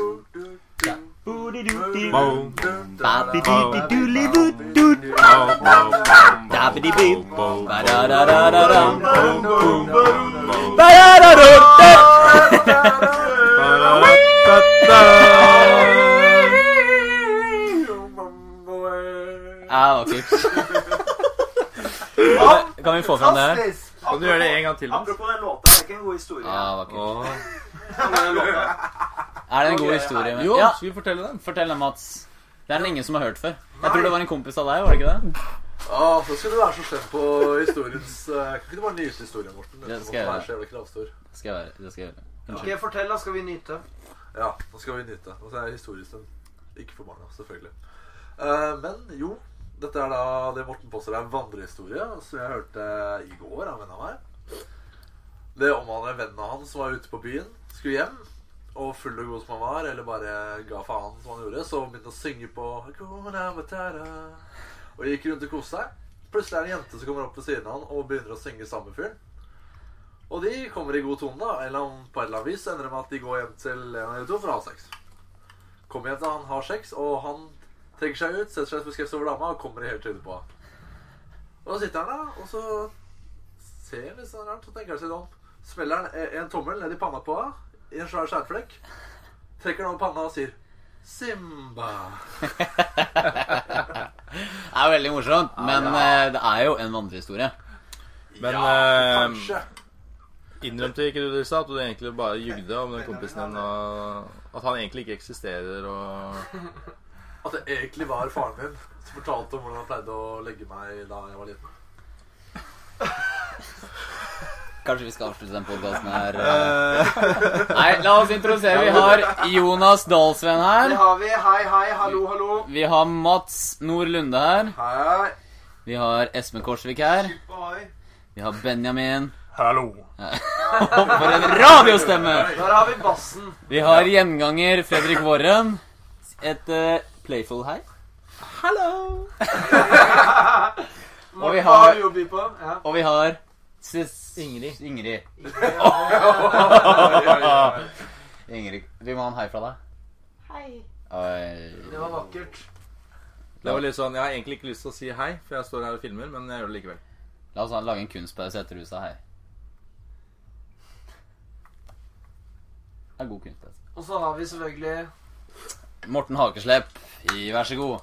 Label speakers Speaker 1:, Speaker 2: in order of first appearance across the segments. Speaker 1: Ah,
Speaker 2: Boom.
Speaker 1: Ja, ok. Kan vi- Kan vi få fram det her?
Speaker 3: Fantastisk!
Speaker 2: Kan du gjøre det en gang til? Mats?
Speaker 3: Apropos den låta, det er ikke en god historie.
Speaker 1: Ja, vakkert.
Speaker 2: Åh.
Speaker 1: Ah, Er det en god historie? Men...
Speaker 4: Jo,
Speaker 1: Ja,
Speaker 4: skal vi fortelle den?
Speaker 1: fortell det, Mats. Det er den ingen som har hørt før. Jeg tror det var en kompis av deg, var det ikke
Speaker 4: Mm.
Speaker 1: det?
Speaker 5: Å, Ah, så skulle du være så slem på historiens eh, Kan ikke du bare nyte historien, Morten?
Speaker 1: Det
Speaker 5: Det
Speaker 1: skal jeg
Speaker 5: være
Speaker 1: gjøre.
Speaker 5: så jævla kravstor.
Speaker 1: Det skal jeg gjøre. Det skal jeg gjøre.
Speaker 3: Ok, fortell, da skal vi nyte.
Speaker 5: Ja, nå skal vi nyte. Og så er historisk den ikke for barna, selvfølgelig. Eh, men jo, dette er da det Morten påstår er en vandrehistorie, som jeg hørte i går av en venn av meg. Det omhandler vennen av han som var ute på byen, skulle hjem. Og full og god som han var, eller bare ga faen som han gjorde, så begynte han å synge på Hakuna Matata. Og gikk rundt og koste seg. Plutselig er det en jente som kommer opp ved siden av han og begynner å synge samme fyren. Og de kommer i god tone, da. Eller om på et eller annet vis ender det med at de går hjem til en eller to for å ha sex. Kommer hjem til han har sex, og han trekker seg ut, setter seg beskrevet over dama og kommer i helt trynet på henne. Og så sitter han da, og så ser han litt sånn rart, så tenker han seg om. Smeller han e- en tommel ned i panna på henne, i en svær skjærflekk. Trekker han over panna og sier Simba.
Speaker 1: Det er jo veldig morsomt,
Speaker 4: Ah,
Speaker 1: men eh, det er jo en vandrehistorie.
Speaker 4: Men,
Speaker 5: ja,
Speaker 4: eh,
Speaker 5: kanskje.
Speaker 4: Innrømte ikke du det i stad, at du egentlig bare jugde om den kompisen din, og at han egentlig ikke eksisterer, og
Speaker 5: At det egentlig var faren min som fortalte om hvordan han pleide å legge meg da jeg var liten.
Speaker 1: Kanskje vi skal avslutte den podkasten her. eh. Nei, la oss introdusere. Vi har Jonas Dahlsven
Speaker 3: Det
Speaker 1: her.
Speaker 3: har vi. Hei, hei, hallo, hallo.
Speaker 1: Vi har Mats Nordlunde her.
Speaker 5: Hei.
Speaker 1: Vi har Espen Korsvik her.
Speaker 3: Oi.
Speaker 1: Vi har Benjamin.
Speaker 6: Hallo.
Speaker 1: Og for en radiostemme!
Speaker 3: Der har vi bassen.
Speaker 1: Vi har gjenganger Fredrik Warren. Et eh, playful hei. Hallo! og vi
Speaker 3: Hva har
Speaker 1: har,
Speaker 3: vi å by på? Ja.
Speaker 1: og vi har Sis- Ingrid. Ingrid. Ingrid, vi må ha en hei fra deg. Hei.
Speaker 3: Det var vakkert.
Speaker 4: Det var litt sånn, Jeg har egentlig ikke lyst til å si hei, for jeg står her og filmer, men jeg gjør det likevel.
Speaker 1: La oss ha- lage en kunstpause etter du sa hei. Det er god kunstpause.
Speaker 3: Og så har vi selvfølgelig
Speaker 1: Morten Hakeslepp, i vær så god.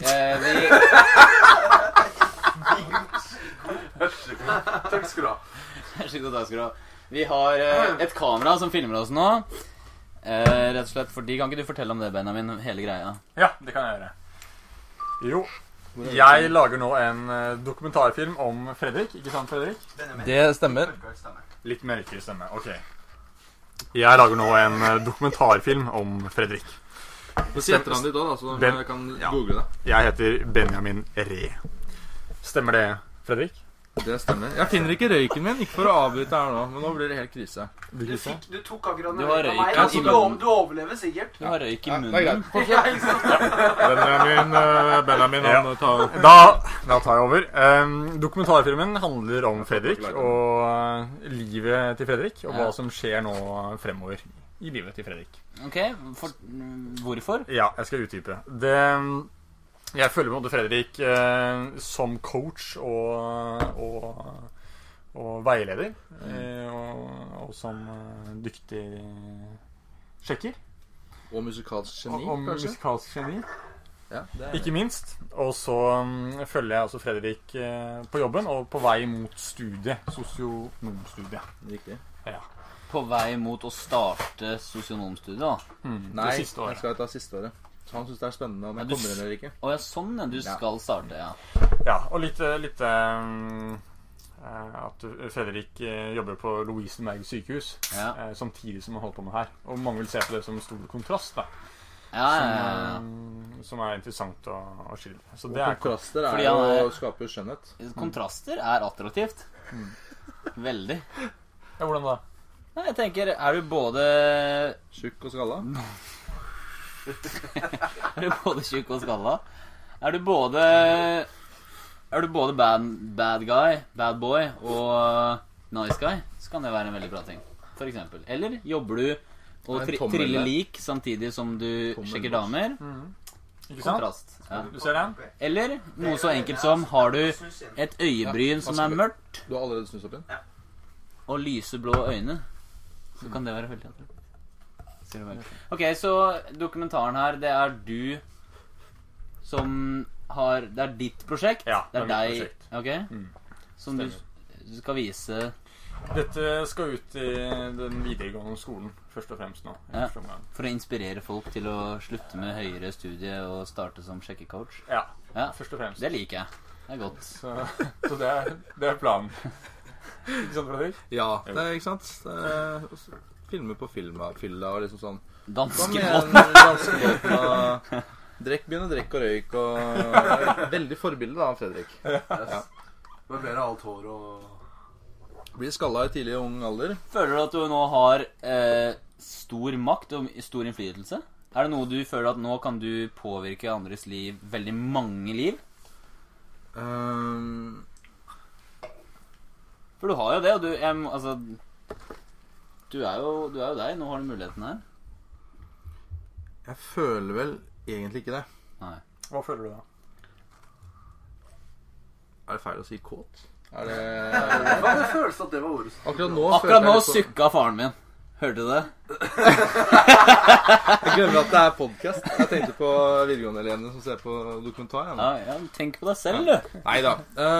Speaker 1: Eh, vi...
Speaker 5: Takk skal du ha.
Speaker 1: Slik at da skal du ha. Vi har eh, et kamera som filmer oss nå. Eh, rett og slett fordi Kan ikke du fortelle om det, Benjamin? Hele greia.
Speaker 6: Ja, det kan jeg gjøre. Jo. Jeg lager nå en eh, dokumentarfilm om Fredrik. Ikke sant, Fredrik?
Speaker 4: Det stemmer.
Speaker 6: Litt mørkere stemme. Ok. Jeg lager nå en eh, dokumentarfilm om Fredrik.
Speaker 4: Få si etternavnet ditt òg, så
Speaker 6: Hvem-
Speaker 4: jeg kan
Speaker 6: ja.
Speaker 4: google det.
Speaker 6: Jeg heter Benjamin Ree. Stemmer det, Fredrik?
Speaker 4: Det stemmer. Jeg finner ikke røyken min, ikke for å avbryte her nå, men nå blir det helt krise.
Speaker 3: Du, fikk, du tok akkurat
Speaker 1: Du
Speaker 3: den
Speaker 1: har
Speaker 3: røyka
Speaker 1: røyka
Speaker 3: meg.
Speaker 1: i
Speaker 3: Altså, du,
Speaker 1: munnen.
Speaker 3: du overlever sikkert.
Speaker 1: Du har røyk i munnen.
Speaker 3: Ja, ikke sant?
Speaker 7: Benjamin, eh, Benjamin han eh,
Speaker 6: Ja.
Speaker 7: tar
Speaker 6: Da, da tar jeg over. Em, dokumentarfilmen handler om Fredrik og eh, livet til Fredrik. Og hva
Speaker 1: Ja.
Speaker 6: som skjer nå fremover i livet til Fredrik.
Speaker 1: Ok, for, mm, Hvorfor?
Speaker 6: Ja, jeg skal utdype. Det Jeg føler på en måte Fredrik eh, som coach og, og, og veileder.
Speaker 4: Mm.
Speaker 6: eh, og, og som eh, dyktig sjekker.
Speaker 4: Og musikalsk
Speaker 6: Og,
Speaker 4: geni,
Speaker 6: og
Speaker 4: kanskje?
Speaker 6: musikalsk geni.
Speaker 4: Ja, det er
Speaker 6: Ikke minst. Og så mm, følger jeg også Fredrik eh, på jobben og på vei mot studiet. Sosionomstudiet.
Speaker 4: riktig.
Speaker 1: På vei mot å starte sosionomstudiet, da.
Speaker 6: Mm,
Speaker 4: Nei,
Speaker 6: det
Speaker 4: jeg
Speaker 6: siste året.
Speaker 4: skal ta siste året. Så han syns det er spennende om jeg
Speaker 1: Men du
Speaker 4: kommer inn eller ikke.
Speaker 1: Å ja, sånn ja. Du
Speaker 4: Ja.
Speaker 1: skal starte, ja.
Speaker 6: Ja, og litt, eh, litt eh, eh, At Fredrik eh, jobber på Lovisenberg sykehus
Speaker 1: Ja.
Speaker 6: eh, samtidig som han holder på med her. Og mange vil se på det som stor kontrast, da.
Speaker 1: Ja, ja, ja,
Speaker 6: Som,
Speaker 1: ja.
Speaker 6: eh, som er interessant å, å skildre. Så
Speaker 4: Og
Speaker 6: det er
Speaker 4: kontraster er
Speaker 1: Fordi
Speaker 4: jo
Speaker 1: han er-
Speaker 4: å skape skjønnhet.
Speaker 1: Kontraster er attraktivt. Veldig.
Speaker 6: ja, Hvordan da?
Speaker 1: Nei, jeg tenker, er du både
Speaker 4: Tjukk og skalla.
Speaker 1: Er du både tjukk og skalla? Er du både Er du både bad, bad guy, bad boy og nice guy, så kan det være en veldig bra ting. For eksempel. Eller jobber du Og
Speaker 4: En
Speaker 1: tri
Speaker 4: tommel
Speaker 1: trille
Speaker 4: der.
Speaker 1: lik samtidig som du
Speaker 4: Tommel
Speaker 1: sjekker
Speaker 4: boss.
Speaker 1: damer.
Speaker 6: Ikke sant?
Speaker 1: Kontrast. Ja.
Speaker 6: Du ser den?
Speaker 1: Eller noe så enkelt som har du et øyebryn som er mørkt,
Speaker 4: Du har allerede snust opp igjen?
Speaker 1: og lyseblå øyne, så kan det være veldig attraktivt. Ser du vel. Ok, så dokumentaren her, det er du som har Det er ditt prosjekt?
Speaker 6: Ja,
Speaker 1: det er
Speaker 6: det er
Speaker 1: deg?
Speaker 6: mitt Mm.
Speaker 1: Ok? Som du du skal vise
Speaker 6: Dette skal ut i den videregående skolen, først og fremst nå. i
Speaker 1: Ja.
Speaker 6: første omgang.
Speaker 1: for å inspirere folk til å slutte med høyere studie og starte som sjekkecoach?
Speaker 6: Ja,
Speaker 1: Ja.
Speaker 6: først og fremst.
Speaker 1: Det liker jeg. Det er godt.
Speaker 6: Så, så det, er, det er planen. Ikke sant, Fredrik?
Speaker 4: Ja, det er ikke sant? Det er, og så filme på filma, fylla og liksom sånn. Kom
Speaker 1: Danske
Speaker 4: igjen,
Speaker 1: båt.
Speaker 4: danskebåten og Drekk, begynn å drikke og røyk og Veldig forbilde, da, Fredrik.
Speaker 5: Barberer alt håret og
Speaker 4: Blir skalla i tidlig ung alder.
Speaker 1: Føler du at du nå har eh, stor makt og stor innflytelse? Er det noe du føler at nå kan du påvirke andres liv, veldig mange liv?
Speaker 4: Ehm,
Speaker 1: For du har jo det, og du jeg, må- Altså du er, jo, du er jo deg. Nå har du muligheten her.
Speaker 4: jeg føler vel egentlig ikke det.
Speaker 6: Hva føler du da?
Speaker 4: Er det feil å si kåt? Er det, er det
Speaker 5: Hva er det følelsen at det var ordet?
Speaker 4: Akkurat nå
Speaker 1: Akkurat nå
Speaker 4: føler jeg litt
Speaker 1: sykka faren min. Hørte du det?
Speaker 4: sånn- Jeg glemmer at det er podkast. Jeg tenkte på videregående-elevene som ser på dokumentar. jeg nå.
Speaker 1: Ja, ja, tenk på deg selv, du.
Speaker 4: Nei da.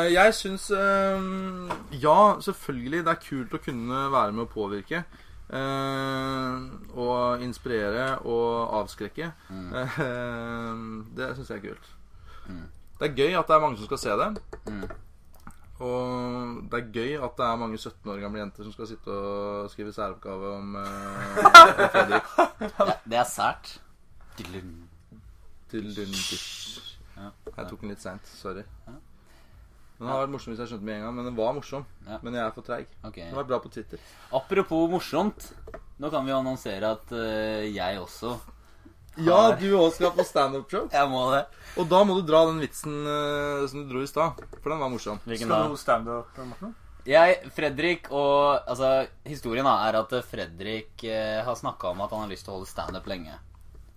Speaker 4: jeg syns eh, Ja, selvfølgelig. Det er kult å kunne være med å påvirke. eh, og inspirere og avskrekke. Eh, det syns jeg er kult.
Speaker 1: Mm.
Speaker 4: Det er gøy at det er mange som skal se det.
Speaker 1: Mm.
Speaker 4: Og det er gøy at det er mange 17 år gamle jenter som skal sitte og skrive særoppgave om eh, om Fredrik.
Speaker 1: Det, det er sært. Glem.
Speaker 4: Til din bitch.
Speaker 1: Ja.
Speaker 4: Jeg tok den litt seint. Sorry.
Speaker 1: Ja.
Speaker 4: Den har vært morsom hvis jeg skjønte med en gang, men den var morsom.
Speaker 1: Ja.
Speaker 4: Men jeg er for treig.
Speaker 1: Ok.
Speaker 4: Den var bra på Twitter.
Speaker 1: Apropos morsomt. Nå kan vi jo annonsere at eh, jeg også
Speaker 4: Ja, du òg skal på standup-show.
Speaker 1: Jeg må det.
Speaker 4: Og da må du dra den vitsen eh, som du dro i stad, for den var morsom.
Speaker 1: Hvilken da?
Speaker 6: Skal du standup, Morten?
Speaker 1: Jeg, Fredrik og Altså, historien da er at Fredrik eh, har snakka om at han har lyst til å holde standup lenge.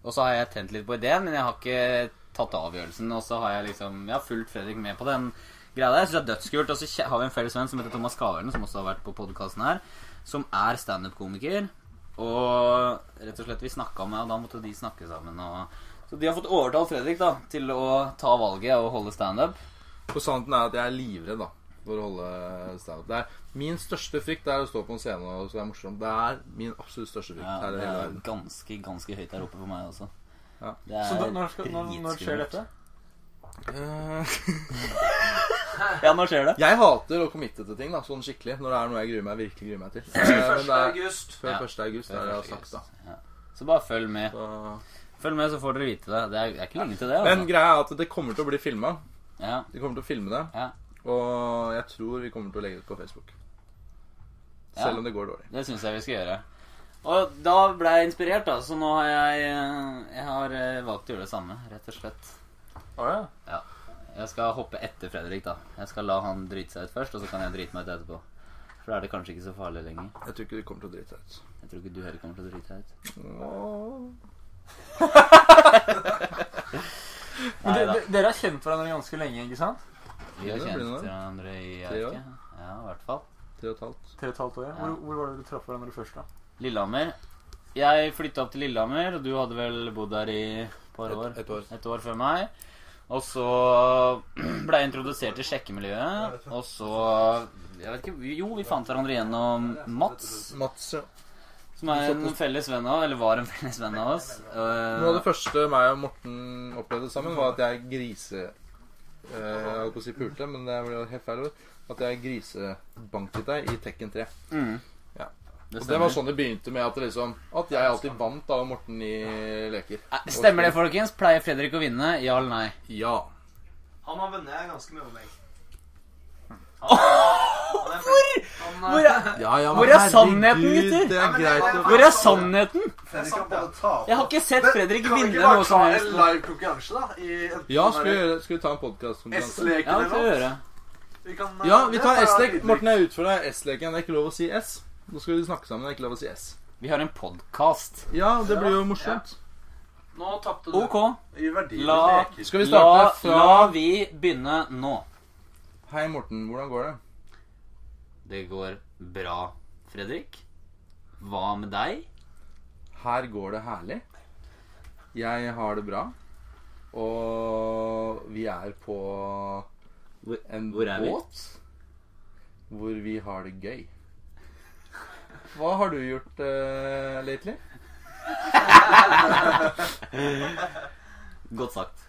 Speaker 1: Og så har jeg tent litt på ideen, men jeg har ikke tatt avgjørelsen. Og så har jeg liksom Jeg har fulgt Fredrik med på den greia der. Jeg synes det er dødskult. Og så kje- har vi en felles venn som heter Thomas Skavelen, som også har vært på podkasten her, som er standup-komiker. Og rett og slett vi snakka med, og da måtte de snakke sammen. Og, så de har fått overtalt Fredrik da til å ta valget og holde standup.
Speaker 4: For sannheten er at jeg er livredd da for å holde standup. Det er Min største frykt er å stå på en scene og være morsom. Det er min absolutt største frykt
Speaker 1: Ja,
Speaker 4: her i
Speaker 1: det
Speaker 4: hele
Speaker 1: er
Speaker 4: verden.
Speaker 1: ganske, ganske høyt der oppe for meg også.
Speaker 4: Ja.
Speaker 1: Det er
Speaker 6: Så da, når, skal, når, når skjer
Speaker 1: dritskummelt.
Speaker 6: dette?
Speaker 4: Eh,
Speaker 1: Ja, når skjer det?
Speaker 4: jeg hater å committe til ting da, sånn skikkelig når det er noe jeg gruer meg virkelig gruer meg til. Eh, men
Speaker 3: 1.
Speaker 4: det er
Speaker 3: august.
Speaker 4: før
Speaker 1: Ja.
Speaker 4: 1. august, er det jeg har sagt. da
Speaker 1: Ja. Så bare følg med.
Speaker 4: Så-
Speaker 1: Følg med, så får dere vite det. Det er, det er ikke lenge til det.
Speaker 4: Men
Speaker 1: Altså.
Speaker 4: greia er at det kommer til å bli filma.
Speaker 1: Ja,
Speaker 4: De kommer til å filme det.
Speaker 1: Ja.
Speaker 4: Og jeg tror vi kommer til å legge det ut på Facebook. Selv
Speaker 1: Ja.
Speaker 4: om det går dårlig.
Speaker 1: det syns jeg vi skal gjøre. Og da ble jeg inspirert, da, så nå har jeg, eh, jeg har eh, valgt å gjøre det samme, rett og slett.
Speaker 6: Å ja.
Speaker 1: Jeg skal hoppe etter Fredrik, da. Jeg skal la han drite seg ut først, og så kan jeg drite meg ut etterpå. For da er det kanskje ikke så farlig lenger.
Speaker 4: Jeg tror ikke det kommer til å drite seg ut.
Speaker 1: Jeg tror ikke du heller kommer til å drite deg ut.
Speaker 6: Men
Speaker 1: Nei
Speaker 6: de,
Speaker 1: da.
Speaker 6: de, dere har kjent hverandre ganske lenge, ikke sant?
Speaker 1: Vi har
Speaker 4: Det blir
Speaker 1: kjent
Speaker 4: noe.
Speaker 1: hverandre i jeg
Speaker 4: Tre
Speaker 1: vet
Speaker 4: år.
Speaker 1: ikke. Ja, i hvert fall.
Speaker 4: Tre og et halvt.
Speaker 6: Tre og et halvt år. ja. Hvor, hvor var det dere traff hverandre først, da?
Speaker 1: Lillehammer. Jeg flytta opp til Lillehammer, og du hadde vel bodd der i et par år?
Speaker 4: Et, et år.
Speaker 1: Et år før meg. Og så ble jeg introdusert til sjekkemiljøet, og så Jeg vet ikke Jo, vi fant hverandre gjennom Mats,
Speaker 4: Mats, ja.
Speaker 1: som er en felles venn av Eller var en felles venn av oss.
Speaker 4: Noe av
Speaker 1: Eh,
Speaker 4: det første meg og Morten opplevde sammen, var at jeg grise... eh, jeg holdt på å si pulte, men det blir jo helt feil ord. At jeg grisebanket deg i Tekken 3.
Speaker 1: mm.
Speaker 4: Ja.
Speaker 1: Det
Speaker 4: Og det
Speaker 1: stemmer.
Speaker 4: var sånn det begynte med at, det liksom, at jeg alltid vant da og Morten i leker.
Speaker 1: Eh, Stemmer det, folkens? Pleier Fredrik å vinne? Ja eller nei?
Speaker 4: Ja.
Speaker 2: Han har vunnet ganske mye over meg.
Speaker 1: Hm. Hvor er,
Speaker 4: ja, ja men
Speaker 1: Hvor er sannheten,
Speaker 4: herregud,
Speaker 1: gutter?
Speaker 4: Det
Speaker 3: Ja,
Speaker 4: er
Speaker 3: men det
Speaker 4: greit
Speaker 3: var-
Speaker 4: å
Speaker 1: hvor er sannheten?
Speaker 3: Det er
Speaker 5: Fredrik kan
Speaker 3: sant, det.
Speaker 5: bare tape.
Speaker 1: Jeg har ikke sett Fredrik
Speaker 5: Kan vi
Speaker 1: vinne
Speaker 5: ikke bare
Speaker 1: noe som
Speaker 5: ta en
Speaker 1: helst.
Speaker 5: live konkurranse, da? I enten
Speaker 4: Ja,
Speaker 5: den
Speaker 4: skal vi,
Speaker 5: der
Speaker 4: gjøre- skal vi ta en podkastkonkurranse?
Speaker 1: Ja,
Speaker 5: S-leken
Speaker 1: det skal vi gjøre.
Speaker 5: Vi kan, eh,
Speaker 4: Ja, vi
Speaker 5: det
Speaker 4: tar
Speaker 5: er
Speaker 4: S-lek.
Speaker 5: dritlig.
Speaker 4: Morten, jeg utfordrer deg. S-leken. Det er ikke lov å si S. Nå skal vi snakke sammen. Det er ikke lov å si S.
Speaker 1: Vi har en podkast.
Speaker 4: Ja, det blir jo morsomt.
Speaker 3: Nå tapte du.
Speaker 1: Ok.
Speaker 5: I verdier
Speaker 1: La-
Speaker 5: leker.
Speaker 4: Skal vi
Speaker 1: La,
Speaker 4: starte fra
Speaker 1: la vi begynne nå.
Speaker 4: Hei, Morten. Hvordan går det?
Speaker 1: Det går bra, Fredrik. Hva med deg?
Speaker 4: Her går det herlig. Jeg har det bra. Og vi er på
Speaker 1: Hvor-
Speaker 4: en
Speaker 1: hvor er vi?
Speaker 4: båt hvor vi har det gøy. Hva har du gjort uh, lately?
Speaker 1: Godt sagt.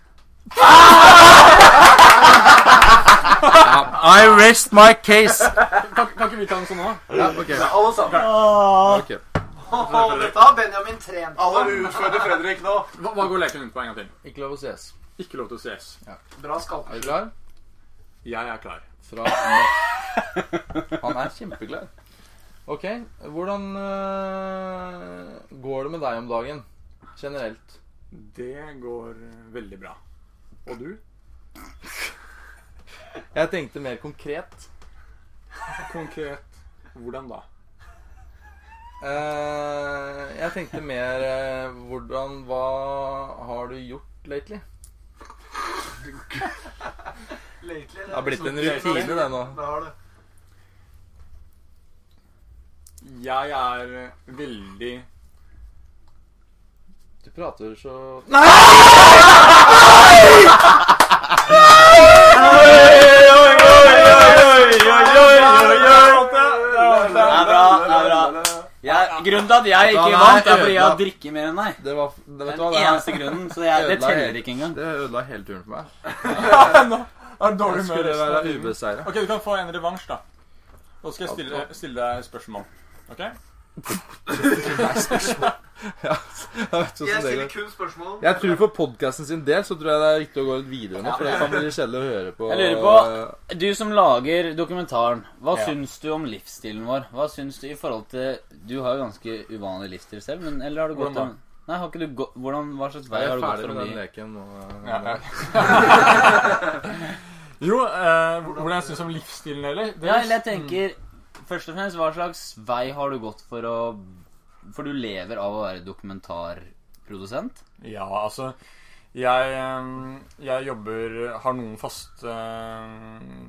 Speaker 4: I rest my case.
Speaker 6: Kan, kan ikke vi ta den sånn nå?
Speaker 4: Ja, ok.
Speaker 5: Alle sammen.
Speaker 4: ok.
Speaker 2: Åh, dette har Benjamin trent på.
Speaker 5: Alle utfordrer Fredrik nå.
Speaker 6: Hva, hva går leken ut på en gang til?
Speaker 4: Ikke lov å ses.
Speaker 6: Ikke lov til å ses.
Speaker 3: Bra skalp.
Speaker 4: Er du klar?
Speaker 6: Jeg er klar.
Speaker 4: Fra nå. Han er kjempeglad. Ok, hvordan eh, går det med deg om dagen? Generelt.
Speaker 6: Det går eh, veldig bra. Og du?
Speaker 4: Jeg tenkte mer konkret.
Speaker 6: Konkret hvordan da?
Speaker 4: Eh, jeg tenkte mer eh, hvordan Hva har du gjort lately?
Speaker 3: Lately.
Speaker 4: Det sånn har blitt en rutine, det nå.
Speaker 3: Det har du.
Speaker 6: Jeg er eh, veldig
Speaker 4: Du prater så
Speaker 1: Det er bra. det er bra jeg, Grunnen til at jeg
Speaker 4: Vet du
Speaker 1: ikke
Speaker 4: hva, det
Speaker 1: vant,
Speaker 4: er
Speaker 1: er fordi jeg har
Speaker 4: ødelagt.
Speaker 1: drikket mer enn deg.
Speaker 4: Det var det, Vet du hva,
Speaker 1: Den
Speaker 4: det, her-
Speaker 1: eneste grunnen. Så jeg, det
Speaker 4: Ødela helt.
Speaker 1: teller ikke engang.
Speaker 4: det ødela hele turen for meg.
Speaker 6: Er det
Speaker 4: Jeg
Speaker 6: dårlig humør
Speaker 4: skulle
Speaker 6: resten av
Speaker 4: være
Speaker 6: tiden?
Speaker 4: ubeseira.
Speaker 6: Ok, du kan få en revansj, da. Nå skal jeg stille, stille deg et spørsmål. Ok?
Speaker 4: Jeg, Sånn
Speaker 3: Jeg stiller kun spørsmål.
Speaker 4: jeg tror for podkasten sin del så tror jeg det er riktig å gå litt videre nå, for det kan bli kjedelig å høre på. eh,
Speaker 1: Jeg lurer på- Du som lager dokumentaren, hva
Speaker 4: Ja.
Speaker 1: syns du om livsstilen vår? Hva syns du i forhold til Du har jo ganske uvanlig livsstil selv, men eller har du gått
Speaker 6: Hvordan da?
Speaker 1: en Nei, har ikke du gått Hvordan, hva slags vei
Speaker 4: Jeg
Speaker 1: har
Speaker 4: er
Speaker 1: du gått
Speaker 4: ferdig
Speaker 1: for å
Speaker 4: med den
Speaker 1: bli
Speaker 4: leken. eh. Og,
Speaker 6: Ja, ja. jo, eh, hvordan jeg syns om livsstilen, eller? Det-
Speaker 1: Ja, eller jeg tenker Først og fremst, hva slags vei har du gått for å For du lever av å være dokumentarprodusent?
Speaker 6: Ja, altså jeg, eh, jeg jobber Har noen faste eh,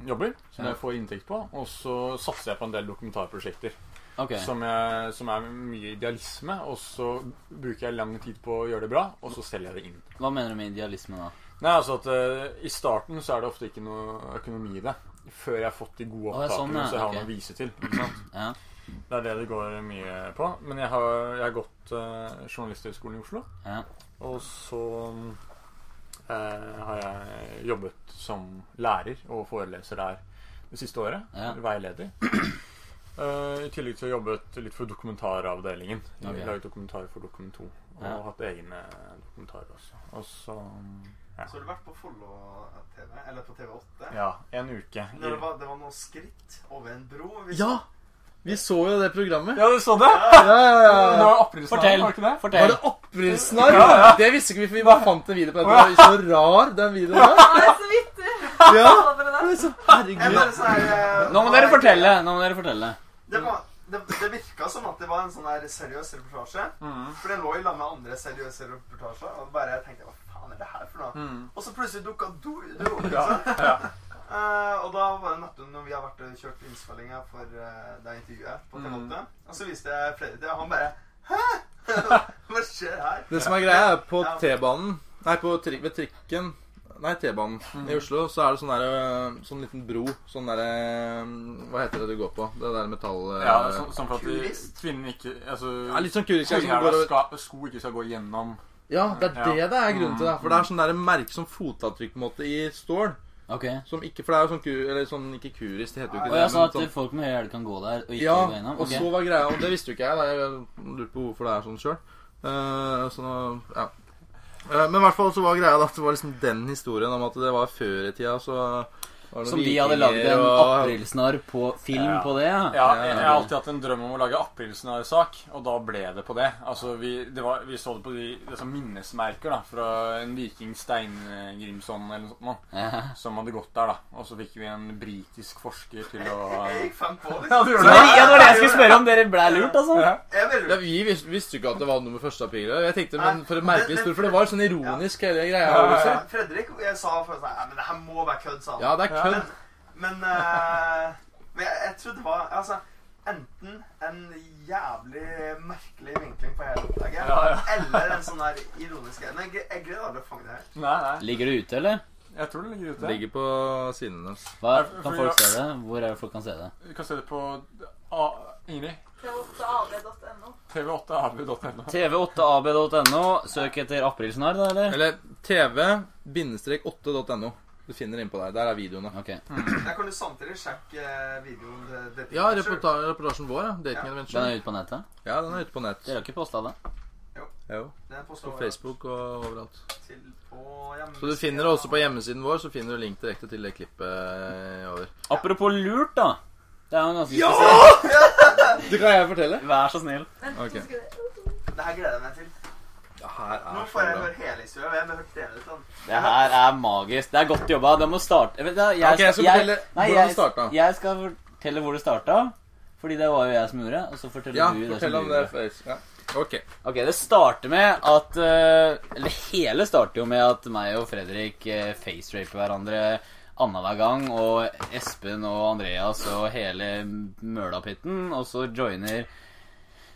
Speaker 6: jobber som
Speaker 1: Ja.
Speaker 6: jeg får inntekt på. Og så satser jeg på en del dokumentarprosjekter.
Speaker 1: Ok.
Speaker 6: Som, jeg, som er mye idealisme. Og så bruker jeg lang tid på å gjøre det bra, og så selger jeg det inn.
Speaker 1: Hva mener du med idealisme, da?
Speaker 6: Nei, altså at eh, I starten så er det ofte ikke noe økonomi i det. Før jeg har fått de gode
Speaker 1: Å, det er sånn,
Speaker 6: opptakene,
Speaker 1: ja.
Speaker 6: så jeg har
Speaker 1: Ok.
Speaker 6: noe å vise til. Ikke sant?
Speaker 1: Ja.
Speaker 6: Det er det det går mye på. Men jeg har, jeg har gått uh, Journalisthøgskolen i Oslo.
Speaker 1: Ja.
Speaker 6: Og så eh, har jeg jobbet som lærer og foreleser der det siste året.
Speaker 1: Ja.
Speaker 6: Veileder. Eh, I tillegg til å jobbe litt for dokumentaravdelingen.
Speaker 1: Ok.
Speaker 6: Jeg Laget dokumentarer for Dokument 2. Og
Speaker 1: Ja.
Speaker 6: hatt egne dokumentarer også. Og så
Speaker 2: Så har du vært på Follo-TV, eller på TV8.
Speaker 6: Ja, en uke.
Speaker 2: Når det, var, det var noen skritt over en bro. hvis-
Speaker 4: Ja! Vi så jo det programmet.
Speaker 6: Ja, du så det?
Speaker 4: Ja, ja, ja.
Speaker 6: Det var aprilsnarr,
Speaker 1: Fortell.
Speaker 6: var det ikke det?
Speaker 4: Var
Speaker 1: Fortell.
Speaker 4: det oppbrillsnarr? Det visste ikke vi, for vi bare fant en video på dette. Det var så rar, den videoen der.
Speaker 8: Nei, så vidt du
Speaker 4: Ja,
Speaker 8: sa dere det.
Speaker 4: det er så
Speaker 2: Jeg
Speaker 4: herregud.
Speaker 2: bare sier, eh,
Speaker 1: Nå må dere fortelle! Nå må dere fortelle.
Speaker 2: Det, var, det, det virka som at det var en sånn der seriøs reportasje. For det lå i lag med andre seriøse reportasjer. Og bare jeg tenkte hva faen er det her for noe? Og så plutselig dukka du, du opp. ikke sant? Eh, og da var det nettopp når vi har vært og kjørt innspillinga for eh, det intervjuet på T8. Og så viste jeg flere til, og han bare Hæ? hva skjer her?
Speaker 4: Det som er greia, er på T-banen Nei, på tri ved trikken Nei, T-banen i Oslo, så er det sånn der øh, Sånn liten bro. Sånn derre Hva heter det du går på? Det der metall... øh,
Speaker 6: Ja, sånn, sånn for at de,
Speaker 2: Kulist.
Speaker 6: kvinnen ikke altså,
Speaker 4: ja, litt sånn kurisk. Sånn,
Speaker 6: Høyhæla
Speaker 4: går over-
Speaker 6: ska- sko ikke skal gå gjennom
Speaker 4: ja, det er det
Speaker 6: Ja.
Speaker 4: det er grunnen til. det For det er sånn der merke som fotavtrykk på en måte i stål.
Speaker 1: Ok.
Speaker 4: Som ikke, for det er jo sånn ku... Eller sånn ikke kurisk, det heter jo ikke
Speaker 1: Og
Speaker 4: det.
Speaker 1: jeg sa
Speaker 4: men
Speaker 1: at
Speaker 4: sånn-
Speaker 1: folk med høy hæl kan gå der og ikke
Speaker 4: Ja,
Speaker 1: gå innom?
Speaker 4: og
Speaker 1: Ok.
Speaker 4: så var greia Og det visste jo ikke jeg. Da. Jeg lurte på hvorfor det er sånn sjøl. så nå, ja. Eh, Men i hvert fall så var greia da at det var liksom den historien om at det var før i tida, så Var det
Speaker 1: Som
Speaker 4: noen
Speaker 1: de hadde lagd
Speaker 4: vikinger
Speaker 1: en
Speaker 4: og-
Speaker 1: aprilsnarr på film
Speaker 6: Ja.
Speaker 1: på det. Ja.
Speaker 6: Ja, jeg jeg har alltid hatt en drøm om å lage aprilsnarr-sak, og da ble det på det. Altså, vi, det var, vi så det på de, det som minnesmerker da, fra en viking Steingrimson eller noe sånt nå,
Speaker 1: Ja.
Speaker 6: som hadde gått der, da. Og så fikk vi en britisk forsker til å
Speaker 2: Jeg gikk fem på,
Speaker 6: Ja,
Speaker 2: liksom.
Speaker 6: du gjorde
Speaker 1: Men,
Speaker 6: det?
Speaker 1: ja, det var det jeg skulle spørre om. Dere ble lurt, altså.
Speaker 6: Ja.
Speaker 2: Jeg vil
Speaker 4: Ja, Vi vis- visste jo ikke at det var nummer 1. april. og Jeg tenkte, men
Speaker 2: Nei,
Speaker 4: for en
Speaker 2: men-
Speaker 4: merkelig
Speaker 2: men-
Speaker 4: historie, for det var sånn ironisk hele greia.
Speaker 6: Ja, ja,
Speaker 4: Ja,
Speaker 6: ja.
Speaker 2: Fredrik og jeg sa først sånn, «Nei, men det her må være kødd, sa han.
Speaker 4: ja det er kødd.
Speaker 2: Men, eh, men jeg, jeg trodde det var altså, enten en jævlig merkelig vinkling på hele opplegget,
Speaker 6: Ja, ja.
Speaker 2: eller en sånn der ironisk en. Jeg, jeg gleder meg til å fange det her.
Speaker 6: Nei, nei.
Speaker 1: Ligger det ute, eller?
Speaker 6: Jeg tror det ligger
Speaker 4: Det
Speaker 6: ute.
Speaker 4: ligger på sidene hennes.
Speaker 1: Hva,
Speaker 6: Nei,
Speaker 1: kan
Speaker 6: for-
Speaker 1: folk se det? Hvor er det folk kan se det?
Speaker 6: Du kan se det på ah, Ingrid.
Speaker 8: tv8ab.no.
Speaker 6: tv8ab.no.
Speaker 1: tv8ab.no. Søk etter aprilsnarr, da, eller?
Speaker 4: Eller tv-8.no. Du finner innpå der. Der er videoene.
Speaker 1: Ok.
Speaker 2: Jeg kan jo samtidig sjekke eh, videoen til The
Speaker 4: Ja,
Speaker 2: Picture.
Speaker 4: reporta reportasjen vår. Ja. Dating
Speaker 2: Ja.
Speaker 4: Adventure.
Speaker 1: Den er ute på nettet?
Speaker 4: Ja, den er ute på nett.
Speaker 1: Dere har ikke posta det?
Speaker 4: Jo,
Speaker 2: Den er postet
Speaker 4: På Facebook og overalt.
Speaker 2: til på hjemmesiden.
Speaker 4: Så du finner det også på hjemmesiden vår, så finner du link direkte til det klippet eh, over.
Speaker 1: Apropos lurt, da. Det er jo ganske
Speaker 2: Ja!
Speaker 1: spesielt.
Speaker 4: Det kan jeg fortelle.
Speaker 1: Vær så snill.
Speaker 8: Vent,
Speaker 4: Ok.
Speaker 8: okay. skal det...
Speaker 2: Det her gleder jeg meg til.
Speaker 4: Ja, her
Speaker 2: Nå
Speaker 4: er så
Speaker 2: får jeg
Speaker 4: bra.
Speaker 2: høre hele historien. Jeg har hørt deler av den.
Speaker 1: Det her er magisk. Det er godt jobba. Det må starte Vet du hva,
Speaker 4: Ok, jeg skal
Speaker 1: nei,
Speaker 4: fortelle hvordan det
Speaker 1: jeg-
Speaker 4: starta.
Speaker 1: Jeg skal fortelle hvor det starta. Fordi det var jo jeg som gjorde det. Og så forteller
Speaker 4: Ja,
Speaker 1: du det
Speaker 4: fortell
Speaker 1: som
Speaker 4: om
Speaker 1: du
Speaker 4: det.
Speaker 1: gjorde.
Speaker 4: Face. Ja. Ok.
Speaker 1: Ok, Det starter med at eh, Eller hele starter jo med at meg og Fredrik uh, faceraper hverandre annenhver gang. Og Espen og Andreas og hele mølapytten. Og så joiner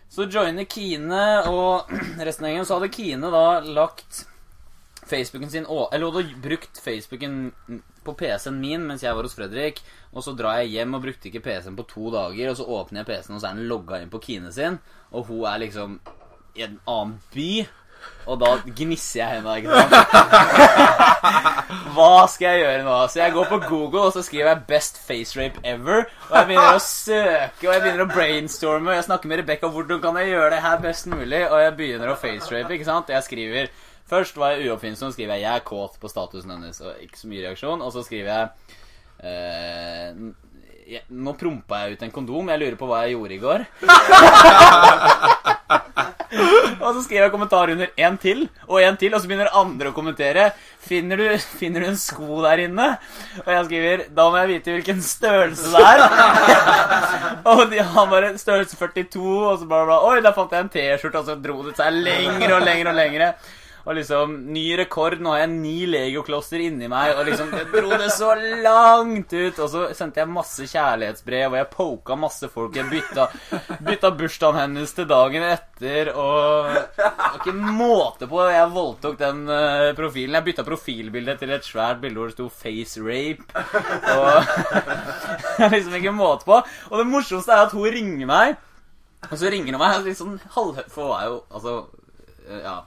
Speaker 1: Så joiner Kine og resten av gjengen. Så hadde Kine da lagt Facebooken sin å- Eller hun hadde brukt Facebooken på PC-en min mens jeg var hos Fredrik. Og så drar jeg hjem og brukte ikke PC-en på to dager. Og så åpner jeg PC-en, og så er den logga inn på Kine sin. Og hun er liksom i en annen by. Og da gnisser jeg henda, ikke sant? Hva skal jeg gjøre nå? Så jeg går på Google og så skriver jeg 'Best face rape ever'. Og jeg begynner å søke og jeg begynner å brainstorme. Og jeg snakker med Rebekka hvordan kan jeg gjøre det her best mulig. Og jeg begynner å facerape. ikke sant? Og jeg skriver Først var jeg uoppfinnsom, skriver jeg 'Jeg er kåt' på statusen hennes. Og ikke så mye reaksjon. Og så skriver jeg eh, n- jeg- Nå prompa jeg ut en kondom. Jeg lurer på hva jeg gjorde i går. Og så skriver jeg kommentar under en til og en til, og så begynner andre å kommentere. Finner du, finner du en sko der inne? Og jeg skriver Da må jeg vite hvilken størrelse det er. og de, han bare Størrelse 42, og så bare, bare Oi, der fant jeg en T-skjorte, og så dro det seg lenger og lenger og lengre. Og liksom, ny rekord, nå har jeg ni legoklosser inni meg, og liksom, det dro det så langt ut. Og så sendte jeg masse kjærlighetsbrev, og jeg poka masse folk. Jeg bytta, bytta bursdagen hennes til dagen etter, og det var ikke måte på. Jeg voldtok den eh, profilen. Jeg bytta profilbildet til et svært bilde hvor det sto 'face rape'. Og liksom ikke måte på. Og det morsomste er at hun ringer meg, og så ringer hun meg litt sånn halvhøy For hun er jo altså eh, Ja.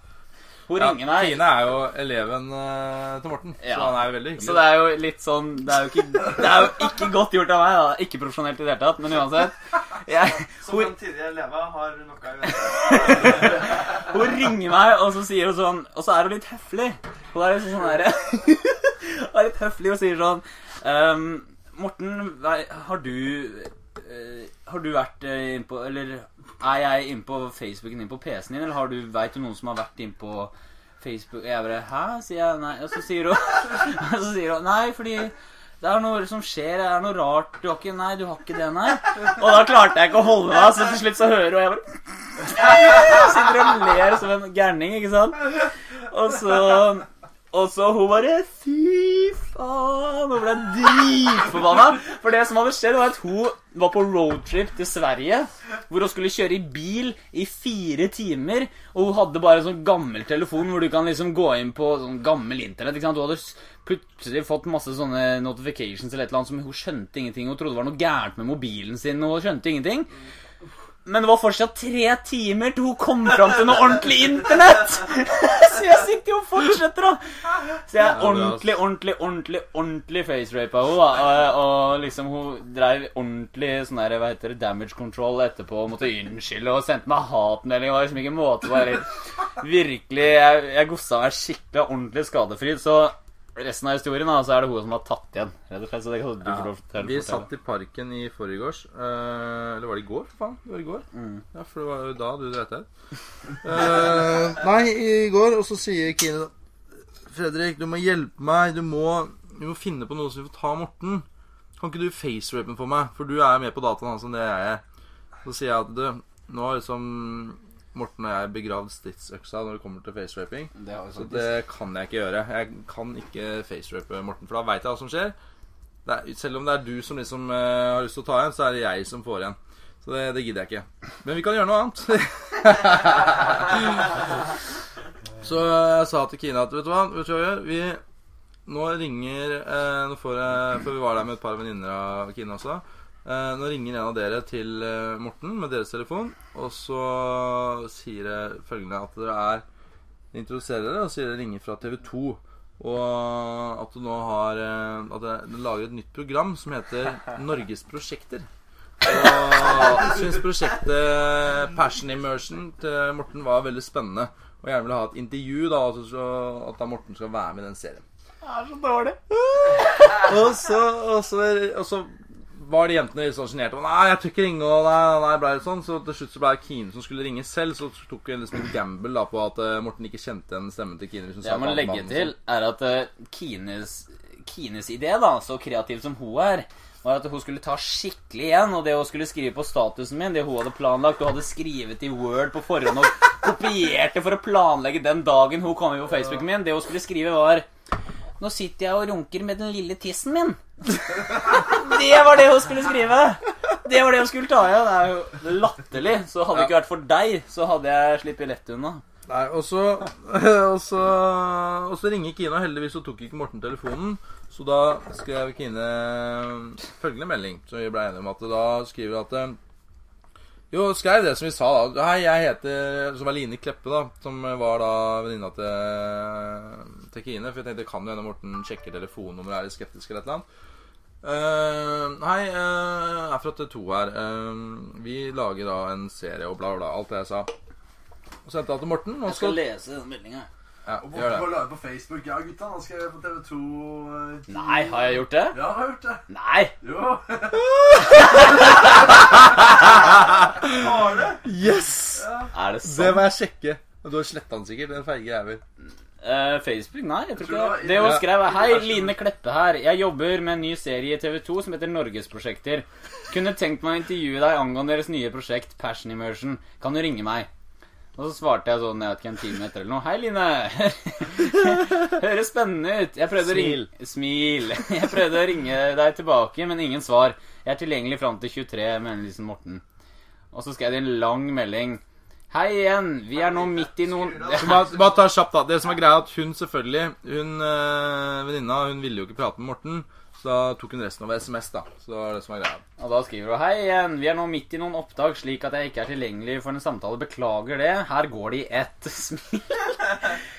Speaker 1: Hun
Speaker 4: Ja,
Speaker 1: ringer meg.
Speaker 4: Kine er jo eleven eh, til Morten,
Speaker 1: Ja.
Speaker 4: så han er jo veldig hyggelig.
Speaker 1: Så det er jo litt sånn Det er jo ikke, det er jo ikke godt gjort av meg, da. Ikke profesjonelt i det hele tatt, men uansett. Jeg,
Speaker 2: Som
Speaker 1: hun,
Speaker 2: den tidligere eleva har noe å gjøre.
Speaker 1: hun ringer meg, og så sier hun sånn Og så er hun litt høflig. Hun er litt sånn derre Hun er litt høflig og sier sånn ehm, Morten, nei, har du eh, Har du vært eh, innpå Eller er jeg innpå Facebooken din på PC-en din, eller har du veit du noen som har vært innpå Facebook Og jeg bare Hæ? sier jeg. Nei. Og så sier hun Og så sier hun Nei, fordi det er noe som skjer, det er noe rart Du har ikke Nei, du har ikke det, nei. Og da klarte jeg ikke å holde meg, så til slutt så hører hun og jeg bare Sitter og ler som en gærning, ikke sant? Og så og så hun bare Fy faen! Hun ble dritforbanna. For det som hadde skjedd, var at hun var på roadtrip til Sverige. Hvor hun skulle kjøre i bil i fire timer. Og hun hadde bare en sånn gammel telefon hvor du kan liksom gå inn på sånn gammel internett. ikke sant? Hun hadde s- plutselig fått masse sånne notifications eller et eller annet som hun skjønte ingenting. Hun trodde det var noe gærent med mobilen sin, og hun skjønte ingenting. Men det var fortsatt tre timer til hun kom fram til noe ordentlig internett! Så jeg sitter jo og fortsetter, da. Så jeg er ordentlig, ordentlig, ordentlig ordentlig facerapa henne. da. Og, og liksom hun dreiv ordentlig sånn der, hva heter det, damage control etterpå og måtte unnskylde og sendte meg hatmelding. Det var liksom ikke måte på. eller Virkelig, jeg, jeg gossa meg skikkelig ordentlig skadefryd. Så resten av historien da, så er det hun som har tatt igjen. Rett og slett, så det kan du få lov til å
Speaker 4: Vi
Speaker 1: fortelle.
Speaker 4: satt i parken i forgårs. eh, eller var det i går, for faen? Det var i går. Ja, for det var jo da du dreit deg ut. Eh, nei, i går. Og så sier Kine Fredrik, du må hjelpe meg. Du må, du må finne på noe så vi får ta Morten. Kan ikke du facerapen for meg? For du er mer på dataen hans enn det jeg er. Så sier jeg at du, nå har liksom Morten og jeg begravd stridsøksa når det kommer til faceraping.
Speaker 1: Det har vi
Speaker 4: Så
Speaker 1: sagt.
Speaker 4: det kan jeg ikke gjøre. Jeg kan ikke facerape Morten, for da veit jeg hva som skjer. Det er, selv om det er du som liksom eh, har lyst til å ta igjen, så er det jeg som får igjen. Så det, det gidder jeg ikke. Men vi kan gjøre noe annet. så jeg sa til Kine at vet du hva, vet du hva vi gjør? Vi nå ringer eh, nå får jeg, For vi var der med et par venninner av Kine også. Eh, nå ringer en av dere til eh, Morten med deres telefon, og så sier det følgende at dere er introduserer dere og sier dere ringer fra TV 2. Og at du nå har eh, At du lager et nytt program som heter Norges prosjekter. Og syns prosjektet Passion Immersion til Morten var veldig spennende. Og gjerne vil ha et intervju, da, altså så at da Morten skal være med i den serien. Det er så dårlig. og, så, og, så, og så var de jentene litt sånn sjenerte. Nei, jeg tør ikke ringe. Og nei, nei, nei, ble det sånn. Så til slutt så ble det Kine som skulle ringe selv. Så tok hun liksom en gamble da på at eh, Morten ikke kjente igjen stemmen til Kine. hvis hun
Speaker 1: Det
Speaker 4: sa
Speaker 1: jeg må
Speaker 4: Batman
Speaker 1: legge
Speaker 4: og sånn.
Speaker 1: til, er at eh, Kines, Kines idé, da, så kreativ som hun er, var at hun skulle ta skikkelig igjen. Og det hun skulle skrive på statusen min, det hun hadde planlagt Hun hadde skrevet i Word på forhånd og kopiert det for å planlegge den dagen hun kom inn på Facebooken min. Det hun skulle skrive, var Nå sitter jeg og runker med den lille tissen min. Det var det hun skulle skrive. Det var det hun skulle ta igjen. Det er jo latterlig. Så hadde det ikke vært for deg, så hadde jeg sluppet lett unna.
Speaker 4: Nei, og så, og så Og så ringer Kine, og heldigvis så tok ikke Morten telefonen. Så da skrev Kine eh, følgende melding, som vi ble enige om. At da skriver hun at eh, Jo, skrev det som vi sa, da. Hei, jeg heter Som er Line Kleppe, da. Som var da venninna til, til Kine. For jeg tenkte, kan jo hende Morten sjekker telefonnummeret, er litt skeptisk eller et eller annet. Eh, hei, eh, jeg er fra T2 her. Eh, vi lager da en serie og bla, bla, bla. Alt det jeg sa. Og så sendte jeg til Morten. Nå
Speaker 1: Jeg skal lese den meldinga.
Speaker 4: ja,
Speaker 5: Og
Speaker 4: gjør
Speaker 5: Morten
Speaker 4: det.
Speaker 5: får lage på Facebook. Ja, gutta, nå skal jeg på TV2. eh,
Speaker 1: Nei, har jeg gjort det?
Speaker 5: Ja, jeg har hørt det.
Speaker 1: Nei!
Speaker 5: Jo.
Speaker 4: Yes!
Speaker 1: Er det
Speaker 4: Det
Speaker 1: sant?
Speaker 4: må jeg sjekke. Du har sletta den sikkert, den feige jævel.
Speaker 1: Eh, Facebook? Nei, jeg tror ikke
Speaker 5: Tror du
Speaker 1: det. Det
Speaker 5: det var-
Speaker 1: hun skrev, er Hei,
Speaker 5: Universum.
Speaker 1: Line Kleppe her. Jeg jobber med en ny serie i TV2 som heter Norgesprosjekter. Kunne tenkt meg å intervjue deg angående deres nye prosjekt Passion Immersion. Kan du ringe meg? Og så svarte jeg sånn jeg vet ikke, en time etter eller noe. Hei, Line. Høres spennende ut. Jeg prøvde Å ringe, smil. Jeg prøvde å ringe deg tilbake, men ingen svar. Jeg er tilgjengelig fram til 23, mener Lisen Morten. Og så skrev de en lang melding. Hei igjen. Vi er nå midt i noen
Speaker 4: Så bare, bare ta kjapt, da. Det som er greia, er at hun selvfølgelig Hun øh, venninna hun ville jo ikke prate med Morten, så da tok hun resten over SMS, da. Så det var det som var greia.
Speaker 1: Og da skriver hun Hei igjen, vi er nå midt i noen opptak slik at jeg ikke er tilgjengelig for en samtale. Beklager det. Her går det i ett. Smil.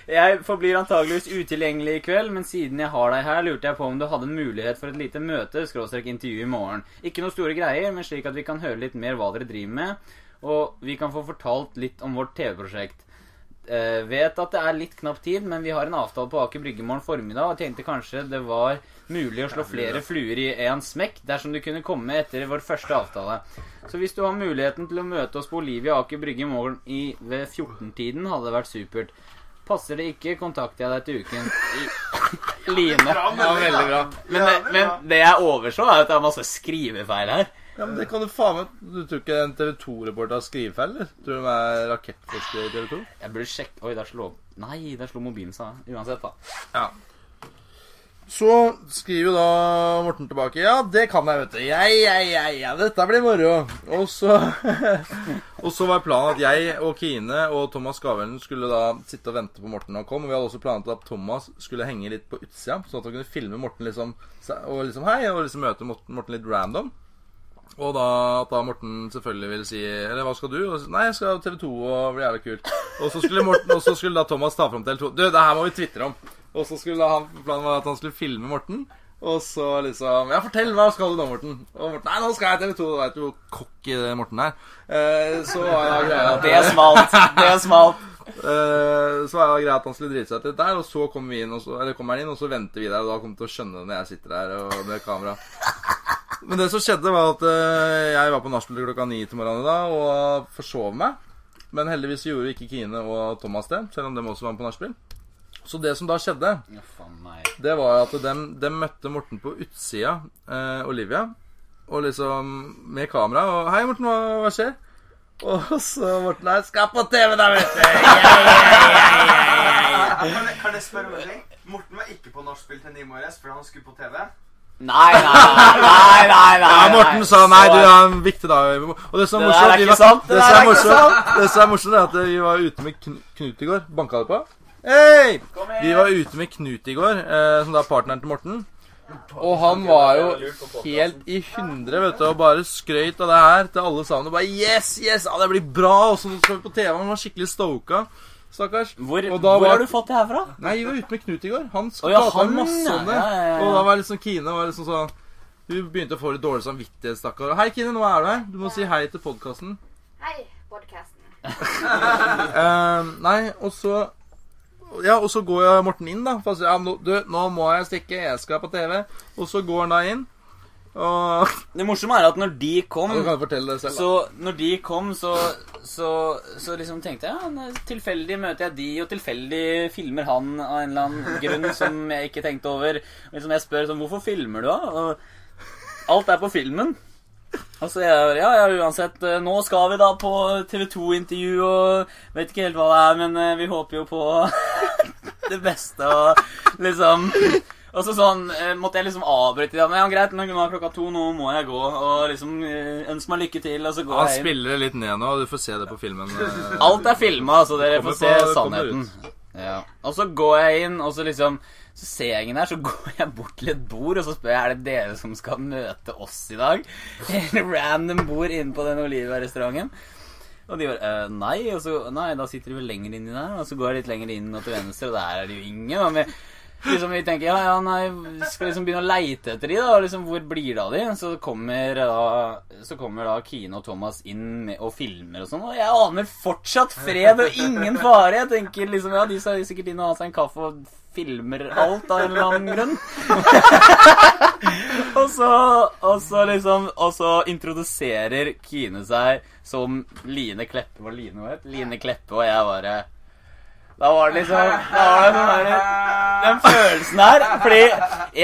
Speaker 1: Jeg forblir antageligvis utilgjengelig i kveld, men siden jeg har deg her, lurte jeg på om du hadde en mulighet for et lite møte, skråstrek intervju i morgen. Ikke noe store greier, men slik at vi kan høre litt mer hva dere driver med, og vi kan få fortalt litt om vårt TV-prosjekt. Eh, vet at det er litt knapp tid, men vi har en avtale på Aker Brygge i morgen formiddag, og tenkte kanskje det var mulig å slå flere fluer i én smekk dersom du kunne komme etter vår første avtale. Så hvis du har muligheten til å møte oss på Olivia Aker Brygge i morgen i, ved 14-tiden, hadde det vært supert. Passer det ikke, kontakter jeg deg til uken. I, Line.
Speaker 2: Ja, veldig bra.
Speaker 1: Men det, men det jeg overså, er at det er masse skrivefeil her.
Speaker 4: Ja, men det kan du faen meg Du tror ikke en TV 2-reporter har skrivefeil, eller? Tror du de er rakettforskere i TV 2?
Speaker 1: Jeg burde sjekke Oi, der slo Nei, der slo mobilen seg. Uansett, da.
Speaker 4: Så skriver jo da Morten tilbake Ja, det kan jeg, vet du. Ja, ja, ja, ja, dette blir moro. Og så Og så var planen at jeg og Kine og Thomas Gavelen skulle da sitte og vente på Morten når han kom. Og vi hadde også planlagt at Thomas skulle henge litt på utsida, sånn at han kunne filme Morten liksom og liksom hei, og liksom møte Morten, Morten litt random. Og da at da Morten selvfølgelig ville si Eller hva skal du? Og så, Nei, jeg skal TV 2 og bli jævla kult. Og så skulle Morten Og så skulle da Thomas ta fram til TV 2. Du, det her må vi tvitre om. Og så skulle da han planen var at han skulle filme Morten. Og så liksom Ja, fortell, hva skal du nå, Morten? Og Morten Nei, nå skal jeg TV 2. Du veit jo hvor cocky Morten er. Eh, så var da greia at
Speaker 1: Det er smalt. Det er smalt.
Speaker 4: Eh, så var det greit at han skulle drite seg ut litt der, og så kommer vi inn, og så, eller kommer han inn, og så venter vi der, og da kommer han til å skjønne det når jeg sitter der og med kamera. Men det som skjedde, var at eh, jeg var på nachspiel til klokka ni til morgenen da, og forsov meg. Men heldigvis gjorde ikke Kine og Thomas det, selv om dem også var med på nachspiel. Så det som da skjedde,
Speaker 1: Ja, faen, nei.
Speaker 4: det var at dem, dem møtte Morten på utsida, eh, Olivia, og liksom med kamera. Og 'Hei, Morten, hva, hva skjer?' Og så Morten her 'Skal på TV, da, vet du'.
Speaker 2: Kan jeg, kan jeg spørre om en ting? Morten var ikke på nachspiel til ni morges fordi han skulle på TV.
Speaker 1: Nei, nei, nei, nei, nei.
Speaker 4: Ja, Morten sa nei, du har en viktig dag. Og det som er
Speaker 1: Det der er
Speaker 4: morsomt, vi
Speaker 1: ikke
Speaker 4: var-
Speaker 1: sant, det
Speaker 4: det
Speaker 1: der
Speaker 4: som er
Speaker 1: er ikke
Speaker 4: morsomt, det som er morsomt, er at vi var ute med Kn- Knut i går. Banka det på? Hei! Vi var ute med Knut i går, eh, som da er partneren til Morten. Og han var jo helt i hundre, vet du, og bare skrøyt av det her til alle sammen. Og bare Yes, yes! Ja, det blir bra! Og så skal vi på TV. Han var skikkelig stoka. Stakkars.
Speaker 1: Hvor,
Speaker 4: Og
Speaker 1: hvor
Speaker 4: da var-
Speaker 1: har du fått det her fra?
Speaker 4: Nei, vi var ute med Knut i går. Han
Speaker 1: Å ja,
Speaker 4: pratet
Speaker 1: han,
Speaker 4: masse om det.
Speaker 1: ja, ja, ja, ja.
Speaker 4: Og da var liksom Kine var liksom sånn Hun begynte å få litt dårlig samvittighet, stakkar. Og, Hei, Kine, nå er du her. Du må si hei til podkasten.
Speaker 9: Hei, podcasten.
Speaker 4: Ehm, nei, og så ja, og så går jeg Morten inn, da. For han sier, ja, nå, du, nå må jeg stikke, jeg skal på TV. Og så går han da inn. Og
Speaker 1: Det morsomme er at når de kom
Speaker 4: Du kan fortelle det selv. da.
Speaker 1: Så når de kom, så, så, så liksom tenkte jeg ja, nei, tilfeldig møter jeg de, og tilfeldig filmer han av en eller annen grunn som jeg ikke tenkte over. Og Liksom jeg spør sånn, hvorfor filmer du da? Og alt er på filmen. Og så Altså, jeg bare, ja, ja, uansett, eh, nå skal vi da på TV2-intervju, og vet ikke helt hva det er, men eh, vi håper jo på det beste, og liksom... Og så sånn, eh, måtte jeg liksom avbryte det. Ja, greit, nå er klokka to, nå må jeg gå. Og liksom eh, ønske meg lykke til, og så går
Speaker 4: Han
Speaker 1: jeg inn.
Speaker 4: spiller det litt ned nå, og du får se det på filmen. eh.
Speaker 1: Alt er filma, så dere får
Speaker 4: Kommer
Speaker 1: se
Speaker 4: på- kommer
Speaker 1: sannheten. Ja. Og så går jeg inn, og så liksom Så ser jeg ingen der, så går jeg bort til et bord, og så spør jeg er det dere som skal møte oss i dag. Helt random bord inne på den Olivia-restauranten. Og de bare «Eh, nei, og så Nei, da sitter de vel lenger inni der. Og så går jeg litt lenger inn og til venstre, og der er det jo ingen. Og vi, liksom, vi tenker ja, ja, nei, vi skal liksom begynne å leite etter de, da. Og liksom, hvor blir det av de? Så kommer eh, da Så kommer da Kine og Thomas inn med- og filmer og sånn. Og jeg aner fortsatt fred og ingen fare. Jeg tenker liksom ja, de skal sikkert inn og ha seg en kaffe og filmer alt av en eller annen grunn. Og så, og så liksom Og så introduserer Kine seg som Line Kleppe. Hva Line het? Line Kleppe, og jeg bare Da var det liksom Da var det sånn der, Den følelsen her. Fordi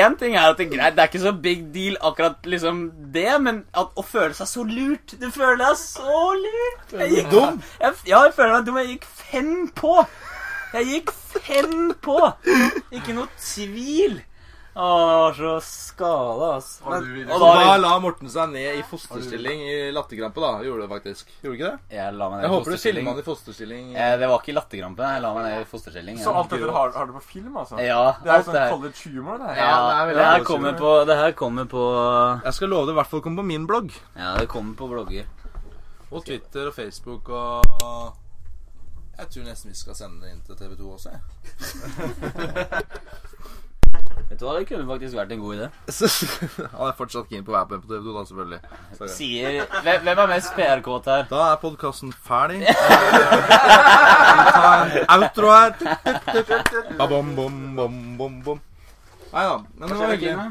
Speaker 1: én ting er at det er greit, det er ikke så big deal akkurat liksom det, men at å føle seg så lurt Du føler deg så lurt. Jeg gikk dum. Jeg, ja, jeg føler meg dum. Jeg gikk fem på. Jeg gikk fem på. Ikke noe tvil. Å, det var så skada, ass. Men, og
Speaker 4: Så da
Speaker 1: da,
Speaker 4: la Morten seg ned i fosterstilling i latterkrampe, da. Gjorde det faktisk. Gjorde ikke det?
Speaker 1: jeg la meg ned
Speaker 4: Jeg
Speaker 1: i
Speaker 4: håper du
Speaker 1: fosterstilling.
Speaker 4: filma han i fosterstilling.
Speaker 1: Eh, det var ikke latterkrampe. Jeg la meg ned i fosterstilling.
Speaker 6: Så
Speaker 1: ja.
Speaker 6: alt dette har, har du på film, altså?
Speaker 1: Ja,
Speaker 6: Det er jo
Speaker 1: alt det
Speaker 6: sånn
Speaker 1: her.
Speaker 6: college humor, det her.
Speaker 1: Ja,
Speaker 4: det er
Speaker 1: det
Speaker 4: veldig
Speaker 1: her
Speaker 4: alvorlig.
Speaker 1: kommer på Det her kommer på
Speaker 4: Jeg skal love det i hvert fall kommer på min blogg.
Speaker 1: Ja, det kommer på blogger.
Speaker 4: Og Twitter og Facebook og Jeg tror nesten vi skal sende det inn til TV2 også, jeg.
Speaker 1: Vet du hva, det kunne faktisk vært en god idé.
Speaker 4: Han er fortsatt keen på å være med på TV2, da, selvfølgelig. Sorry.
Speaker 1: Sier Hvem hvem er mest PR-kåt her?
Speaker 4: Da er podkasten ferdig. Eh, Vi tar en outro her. Ba-bom, bom, bom, bom, bom. Nei da. Men det var hyggelig.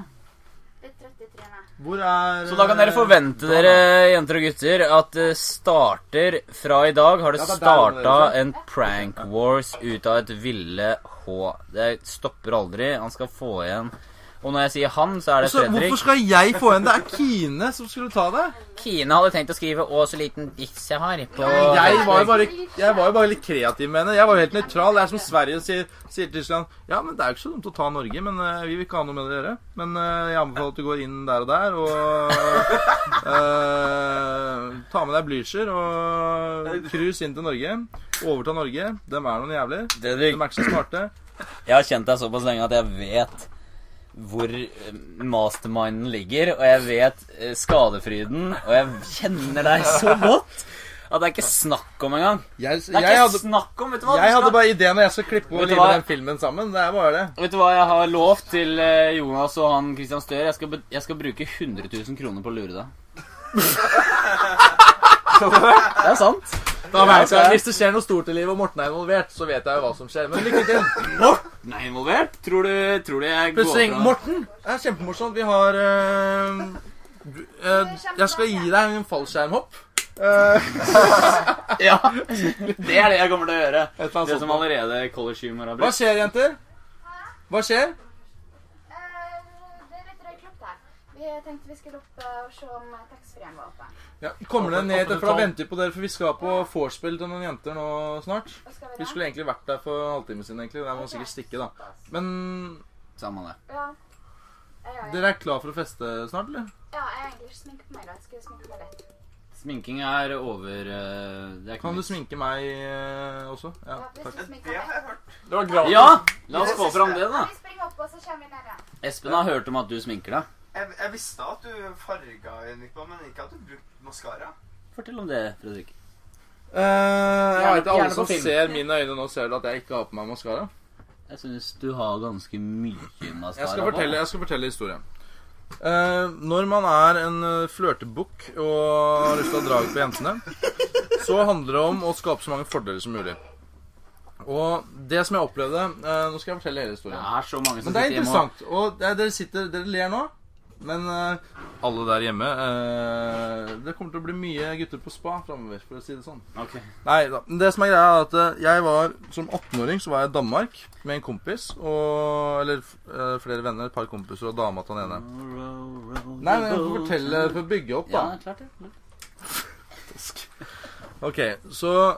Speaker 9: Litt trøtt i trynet.
Speaker 4: Hvor er
Speaker 1: Så da kan dere forvente dere, jenter og gutter, at det starter fra i dag har det
Speaker 4: Ja, det er der det
Speaker 1: starta
Speaker 4: er.
Speaker 1: en prank wars ut av et ville H. Det stopper aldri. Han skal få igjen. Og når jeg sier han, så er det
Speaker 4: så,
Speaker 1: Fredrik.
Speaker 4: Hvorfor skal jeg få en? Det er Kine som skulle ta det.
Speaker 1: Kine hadde tenkt å skrive 'Å, så liten vits jeg har' på
Speaker 4: Jeg var, jo bare, jeg var jo bare litt kreativ med henne. Jeg var jo helt nøytral. Det er som Sverige sier, sier til Tyskland Ja, men det er jo ikke så dumt å ta Norge, men eh, vi vil ikke ha noe med det å gjøre. Men eh, jeg anbefaler at du går inn der og der, og eh, ta med deg Blücher og cruise inn til Norge. Overta Norge. Dem er noen jævler. De
Speaker 1: Fredrik,
Speaker 4: er ikke så smarte.
Speaker 1: jeg har kjent deg såpass lenge at jeg vet hvor eh, masterminden ligger, og jeg vet eh, skadefryden, og jeg kjenner deg så godt at det er ikke snakk om engang.
Speaker 4: Jeg,
Speaker 1: Det er
Speaker 4: jeg
Speaker 1: ikke
Speaker 4: hadde,
Speaker 1: snakk om, vet du hva?
Speaker 4: jeg
Speaker 1: Du
Speaker 4: hadde
Speaker 1: skal-
Speaker 4: bare ideen når jeg sånn skal klippe og
Speaker 1: Vet du
Speaker 4: lime
Speaker 1: hva?
Speaker 4: den filmen sammen. Det er bare det.
Speaker 1: Vet du hva jeg har lovt til eh, Jonas og han Christian Støre? Jeg skal, be- jeg skal bruke 100 000 kroner på å lure deg. Det er sant.
Speaker 4: Da vet jeg, Hvis det skjer noe stort i livet og Morten er involvert, så vet jeg jo hva som skjer. Men lykke til.
Speaker 1: Morten er involvert? Tror du, tror du jeg går
Speaker 4: Plutselig
Speaker 1: fra
Speaker 4: Morten! Det er kjempemorsomt. Vi har eh, du, eh, Jeg skal gi deg en fallskjermhopp. Eh,
Speaker 1: Ja, Det er det jeg kommer til å gjøre.
Speaker 4: et eller annet
Speaker 1: Det
Speaker 4: sånt.
Speaker 1: som allerede college-humor har
Speaker 4: Hva
Speaker 1: brukt.
Speaker 4: skjer, jenter? Hva skjer?
Speaker 9: Eh, det er litt røy klopp der. Vi tenkte vi skulle opp eh, og se om taxfree-en var oppe.
Speaker 4: Ja, kommer dere ned?
Speaker 6: Åpne
Speaker 4: For da
Speaker 6: tall.
Speaker 4: venter vi på dere, for vi skal på vorspiel til noen jenter nå snart.
Speaker 9: Og skal
Speaker 4: Vi
Speaker 9: vi det?
Speaker 4: skulle egentlig vært der for en halvtime siden, egentlig. Der må vi sikkert stikke, da. Men
Speaker 1: Samme det.
Speaker 9: Ja. Jeg, jeg,
Speaker 4: dere er klar for å feste snart, eller?
Speaker 9: ja, jeg har egentlig ikke sminket meg i dag. Jeg Skulle sminke meg litt.
Speaker 1: Sminking er over eh, Det er ikke
Speaker 4: Kan
Speaker 1: noe
Speaker 4: du
Speaker 1: vits.
Speaker 4: sminke meg eh, også? Ja,
Speaker 9: Ja, vi
Speaker 4: takk.
Speaker 9: skulle sminke
Speaker 2: Det
Speaker 9: meg.
Speaker 2: har jeg hørt.
Speaker 6: Det var gratis.
Speaker 1: Ja! La oss få fram det, da.
Speaker 9: Vi springer opp, og så kommer vi ned igjen.
Speaker 1: Espen har hørt om at du sminker deg.
Speaker 2: Jeg, jeg visste at du farga øynene, men ikke at du brukte maskara.
Speaker 1: Fortell om det, Fredrik.
Speaker 4: Eh, jeg vet,
Speaker 1: Gjerne-
Speaker 4: alle
Speaker 1: gjerne
Speaker 4: som
Speaker 1: på film.
Speaker 4: ser mine øyne nå, ser at jeg ikke har på meg maskara.
Speaker 1: Jeg syns du har ganske mye maskara.
Speaker 4: Jeg skal fortelle, jeg skal fortelle historien. Eh, når man er en eh, flørtebukk og har lyst til å dra ut på jentene, så handler det om å skape så mange fordeler som mulig. Og det som jeg opplevde eh, Nå skal jeg fortelle hele
Speaker 1: Det
Speaker 4: historien.
Speaker 1: er så mange som
Speaker 4: Men det er
Speaker 1: sitter hjemme og
Speaker 4: interessant. Og det, dere sitter Dere ler nå, men eh, alle der hjemme eh, Det kommer til å bli mye gutter på spa framover, for å si det sånn.
Speaker 1: Ok.
Speaker 4: Nei da. Men Det som er greia, er at eh, jeg var som 18-åring så var jeg i Danmark med en kompis og Eller eh, flere venner, et par kompiser og dama til han ene. Nei, men jeg får fortelle for å bygge opp, da.
Speaker 1: Ja, klart det.
Speaker 4: Ok, så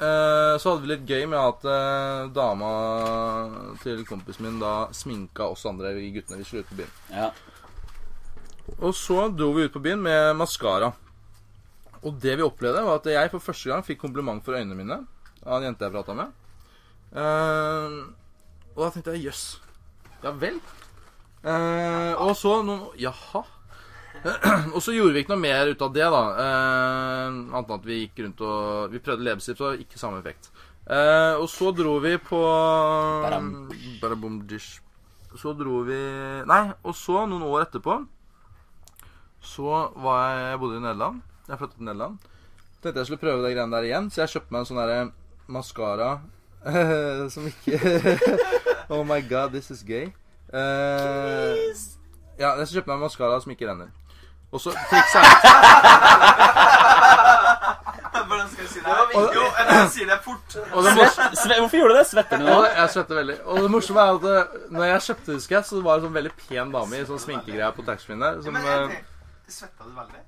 Speaker 4: eh, Så hadde vi litt gøy med at eh, dama til kompisen min da sminka oss andre vi guttene vi skulle ut på byen.
Speaker 1: Ja.
Speaker 4: Og så dro vi ut på byen med maskara. Og det vi opplevde, var at jeg for første gang fikk kompliment for øynene mine av en jente jeg prata med. Eh, og da tenkte jeg jøss. Ja vel. Eh, og så noen Jaha. og så gjorde vi ikke noe mer ut av det, da. Eh, annet enn at vi gikk rundt og Vi prøvde leppestift, og ikke samme effekt. Eh, og så dro vi på
Speaker 1: Badam.
Speaker 4: Badabomdish. Så dro vi Nei, og så, noen år etterpå, så var jeg, jeg bodde i Nederland. Jeg flyttet til Nederland. Tenkte jeg skulle prøve de greiene der igjen, så jeg kjøpte meg en sånn derre maskara som ikke Oh my god, this is gay. Eh, ja, jeg skal kjøpe meg maskara som ikke renner. Og så trikset er
Speaker 2: Hvordan skal jeg si det? her?
Speaker 4: Og-
Speaker 2: Jo, jeg kan si det fort.
Speaker 4: og det, mors
Speaker 1: Sve, hvorfor gjorde du det? Svetter du nå?
Speaker 4: og det- jeg svetter veldig. Og det morsomme er at eh, når jeg kjøpte husker jeg, så var det en sånn veldig pen dame i sånn sminkegreier på taxfree-en der. Som
Speaker 2: Men jeg,
Speaker 4: eh,
Speaker 2: Svetta du veldig?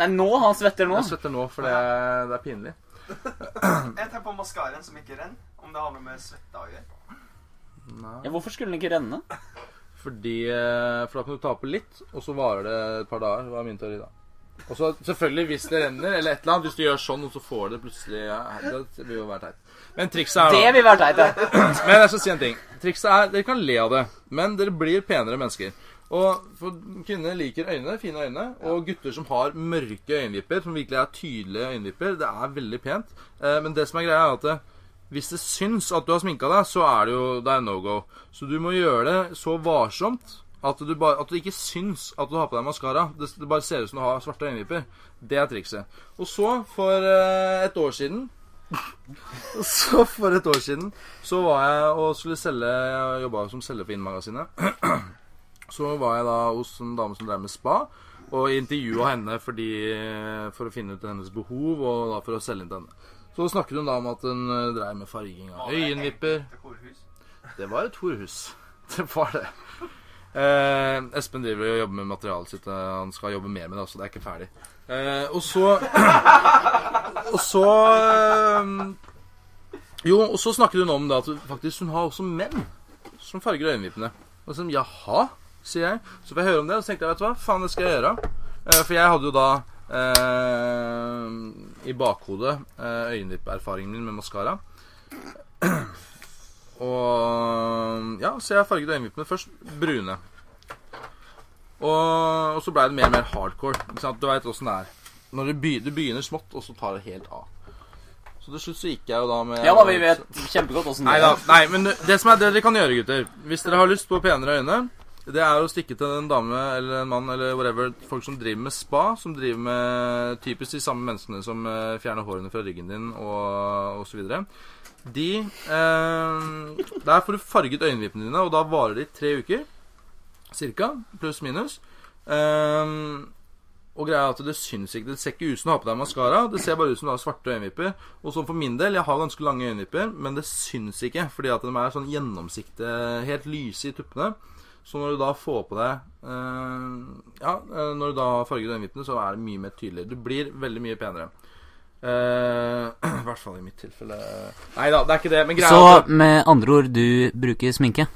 Speaker 1: Nei, nå han svetter nå.
Speaker 4: jeg svetter nå, for det, er- det er pinlig.
Speaker 2: Jeg tenker på maskaraen som ikke renner. Om det har noe med svetta å gjøre.
Speaker 1: Ja, hvorfor skulle den ikke renne?
Speaker 4: Fordi, eh, For da kan du ta på litt, og så varer det et par dager. var min teori da. Og så selvfølgelig, hvis det renner, eller et eller annet, hvis du gjør sånn, og så får det plutselig ja, Det vil jo være teit. Men trikset er da
Speaker 1: Det vil være teit. det.
Speaker 4: Men jeg skal si en ting. Trikset er Dere kan le av det, men dere blir penere mennesker. Og for Kvinner liker øynene, fine øyne. Og gutter som har mørke øyenvipper, som virkelig er tydelige øyenvipper, det er veldig pent. Eh, Men det som er greia, er at det, hvis det syns at du har sminka deg, så er det jo det er no go. Så du må gjøre det så varsomt at du, bare, at du ikke syns at du har på deg maskara. Det, det bare ser ut som du har svarte øyenvipper. Det er trikset. Og så, for eh, et år siden så for et år siden så var jeg og skulle selge Jeg jobba som selger for Inn-magasinet. Så var jeg da hos en dame som drev med spa, og intervjua henne fordi, for å finne ut hennes behov, og da for å selge inn til henne. Så snakket hun da om at hun eh, drev med farging av øyenvipper.
Speaker 2: Til korhus.
Speaker 4: Det var et horehus. Det var det. Eh, Espen driver og jobber med materialet sitt. eh, Han skal jobbe mer med det også. Det er ikke ferdig. Eh, og så Og så eh, Jo, og så snakket hun om det at faktisk hun har også menn som farger øyenvippene. Og sånn, jaha, sier jeg. Så får jeg høre om det, og så tenkte jeg, vet du hva, faen, det skal jeg gjøre. Eh, for jeg hadde jo da eh, i bakhodet eh, øyenvipperfaringen min med maskara. Og ja, så jeg farget øyenvippene først brune. Og, og så blei det mer og mer hardcore. Ikke sant? Du veit åssen det er. Når det begynner, det begynner smått, og så tar det helt av. Så til slutt så gikk jeg jo da med
Speaker 1: Ja da, vi vet kjempegodt åssen
Speaker 4: Nei
Speaker 1: det
Speaker 4: da.
Speaker 1: er.
Speaker 4: Nei, men det som er det dere kan gjøre, gutter Hvis dere har lyst på penere øyne, Det er å stikke til en dame eller en mann eller whatever, folk som driver med spa, som driver med typisk de samme menneskene som eh, fjerner hårene fra ryggen din og, og så videre. De eh, Der får du farget øyenvippene dine, og da varer de tre uker. Cirka. Pluss minus. Eh, og greia er at det syns ikke. Det ser ikke ut som du har på deg maskara. Det ser bare ut som du har svarte øyenvipper. Og sånn for min del, jeg har ganske lange øyenvipper, men det syns ikke. Fordi at de er sånn gjennomsiktige, helt lyse i tuppene. Så når du da får på deg eh, Ja, eh, når du da har farget øyenvippene, så er det mye mer tydelig. Du blir veldig mye penere. Eh, I hvert fall i mitt tilfelle. Nei da, det er ikke det. Men greia
Speaker 1: Så
Speaker 4: er at-
Speaker 1: med andre ord, du bruker sminke?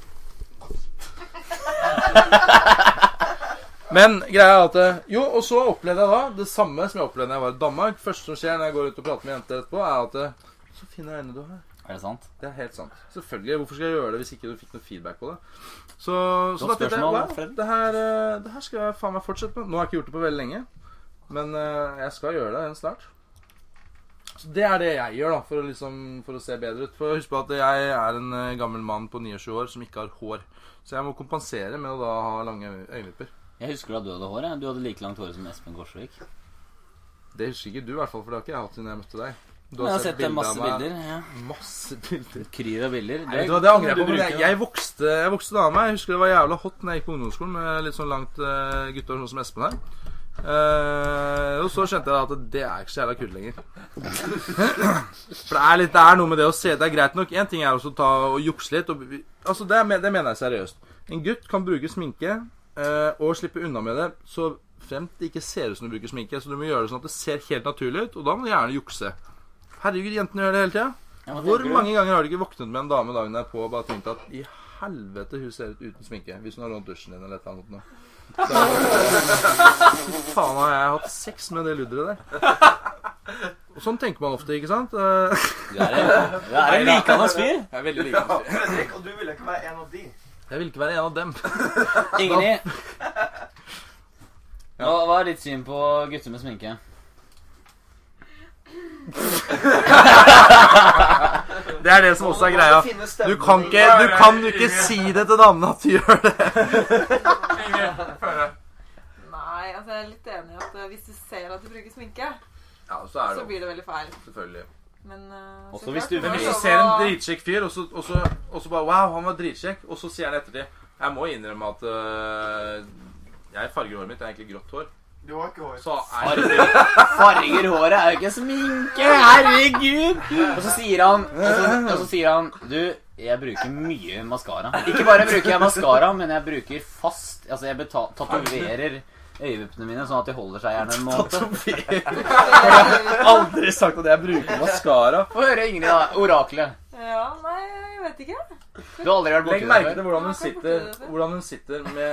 Speaker 4: Men greia er at eh, Jo, og så opplevde jeg da det samme som jeg opplevde da jeg var i Danmark. Første som skjer når jeg går ut og prater med jenter etterpå, er at eh, Så fine øyne du har.
Speaker 1: Er det sant?
Speaker 4: Det er helt sant. Selvfølgelig. Hvorfor skal jeg gjøre det hvis ikke du fikk noe feedback på det? Så,
Speaker 1: Godt
Speaker 4: så da tenkte jeg
Speaker 1: spørsmål,
Speaker 4: wow,
Speaker 1: Fred.
Speaker 4: det her, eh, det her skal jeg faen meg fortsette med. Nå har jeg ikke gjort det på veldig lenge, men eh, jeg skal gjøre det snart. Så Det er det jeg gjør, da, for å, liksom, for å se bedre ut. For Husk på at jeg er en eh, gammel mann på 29 år som ikke har hår. Så jeg må kompensere med å da ha lange øy- øyenvipper.
Speaker 1: Jeg husker da du hadde hår. jeg. Du hadde like langt hår som Espen Gårdsvik.
Speaker 4: Det husker ikke du, i hvert fall, for det har ikke jeg hatt siden jeg møtte deg. Du
Speaker 1: Jeg har sett
Speaker 4: bilder av
Speaker 1: masse
Speaker 4: meg.
Speaker 1: bilder. Ja.
Speaker 4: Masse bilder.
Speaker 1: Kryr av bilder.
Speaker 4: Nei, vet du hva, det angrer jeg på. Men jeg, jeg, vokste, jeg vokste da av meg. Jeg husker det var jævla hot når jeg gikk på ungdomsskolen med litt sånn langt eh, gutter, sånn som Espen her. Eh, og så skjønte jeg da at det er ikke så jævla kult lenger. For det er, litt, det er noe med det å se Det er greit nok. Én ting er også å ta og jukse litt. Og, altså det, er men- det mener jeg seriøst. En gutt kan bruke sminke eh, og slippe unna med det så fremt det ikke ser ut som du bruker sminke. Så du må gjøre det sånn at det ser helt naturlig ut, og da må du gjerne jukse. Herregud, jentene gjør det hele tida.
Speaker 1: Ja, hva
Speaker 4: Hvor
Speaker 1: tenker du?
Speaker 4: mange ganger har du ikke våknet med en dame dagen derpå og bare tenkt at i helvete, hun ser ut uten sminke? Hvis hun har lånt dusjen din eller et eller annet nå. Så- Fy faen, har jeg hatt sex med det ludderet der? Og sånn tenker man ofte, ikke sant? Eh,
Speaker 1: Du er en, du er en likandes fyr.
Speaker 4: Jeg er veldig like.
Speaker 2: Fredrik, og du ville ikke være en av de.
Speaker 4: Jeg vil ikke være en av dem.
Speaker 1: Ingrid. Hva hva er ditt syn på gutter med sminke?
Speaker 4: Det er det som også er greia. Du kan ikke, Eh, du kan jo ikke si det til damene at du gjør det.
Speaker 8: Nei, altså jeg er litt enig i at eh, hvis du ser at du bruker sminke,
Speaker 4: Ja, så er
Speaker 8: så blir det veldig feil.
Speaker 4: selvfølgelig.
Speaker 8: Men eh,
Speaker 1: Også
Speaker 8: så
Speaker 1: hvis
Speaker 8: klart,
Speaker 1: du-
Speaker 8: må
Speaker 4: Men hvis
Speaker 8: lov
Speaker 4: du ser en
Speaker 8: å-
Speaker 4: dritsjekk fyr, og så, og, så, og så bare Wow, han var dritsjekk. Og så sier han ettertid Jeg må innrømme at øh, jeg farger håret mitt. Det er egentlig grått hår.
Speaker 2: Du har ikke hår.
Speaker 4: Så er det
Speaker 1: Farger, farger håret er jo ikke sminke! Herregud! Og så sier han, og så, og så sier han Du, jeg bruker mye maskara. Ikke bare bruker jeg maskara, men jeg bruker fast Altså, jeg beta- tatoverer øyevippene mine sånn at de holder seg gjerne en måned.
Speaker 4: aldri sagt at jeg bruker maskara.
Speaker 1: Få høre Ingrid, da. Oraklet.
Speaker 8: Ja, nei, jeg vet ikke.
Speaker 1: Du har aldri vært
Speaker 4: Legg
Speaker 1: borti
Speaker 4: merke
Speaker 1: det
Speaker 4: til
Speaker 1: før.
Speaker 4: hvordan hun
Speaker 8: Ja, jeg har
Speaker 4: sitter
Speaker 8: borti det før.
Speaker 4: Hvordan hun sitter med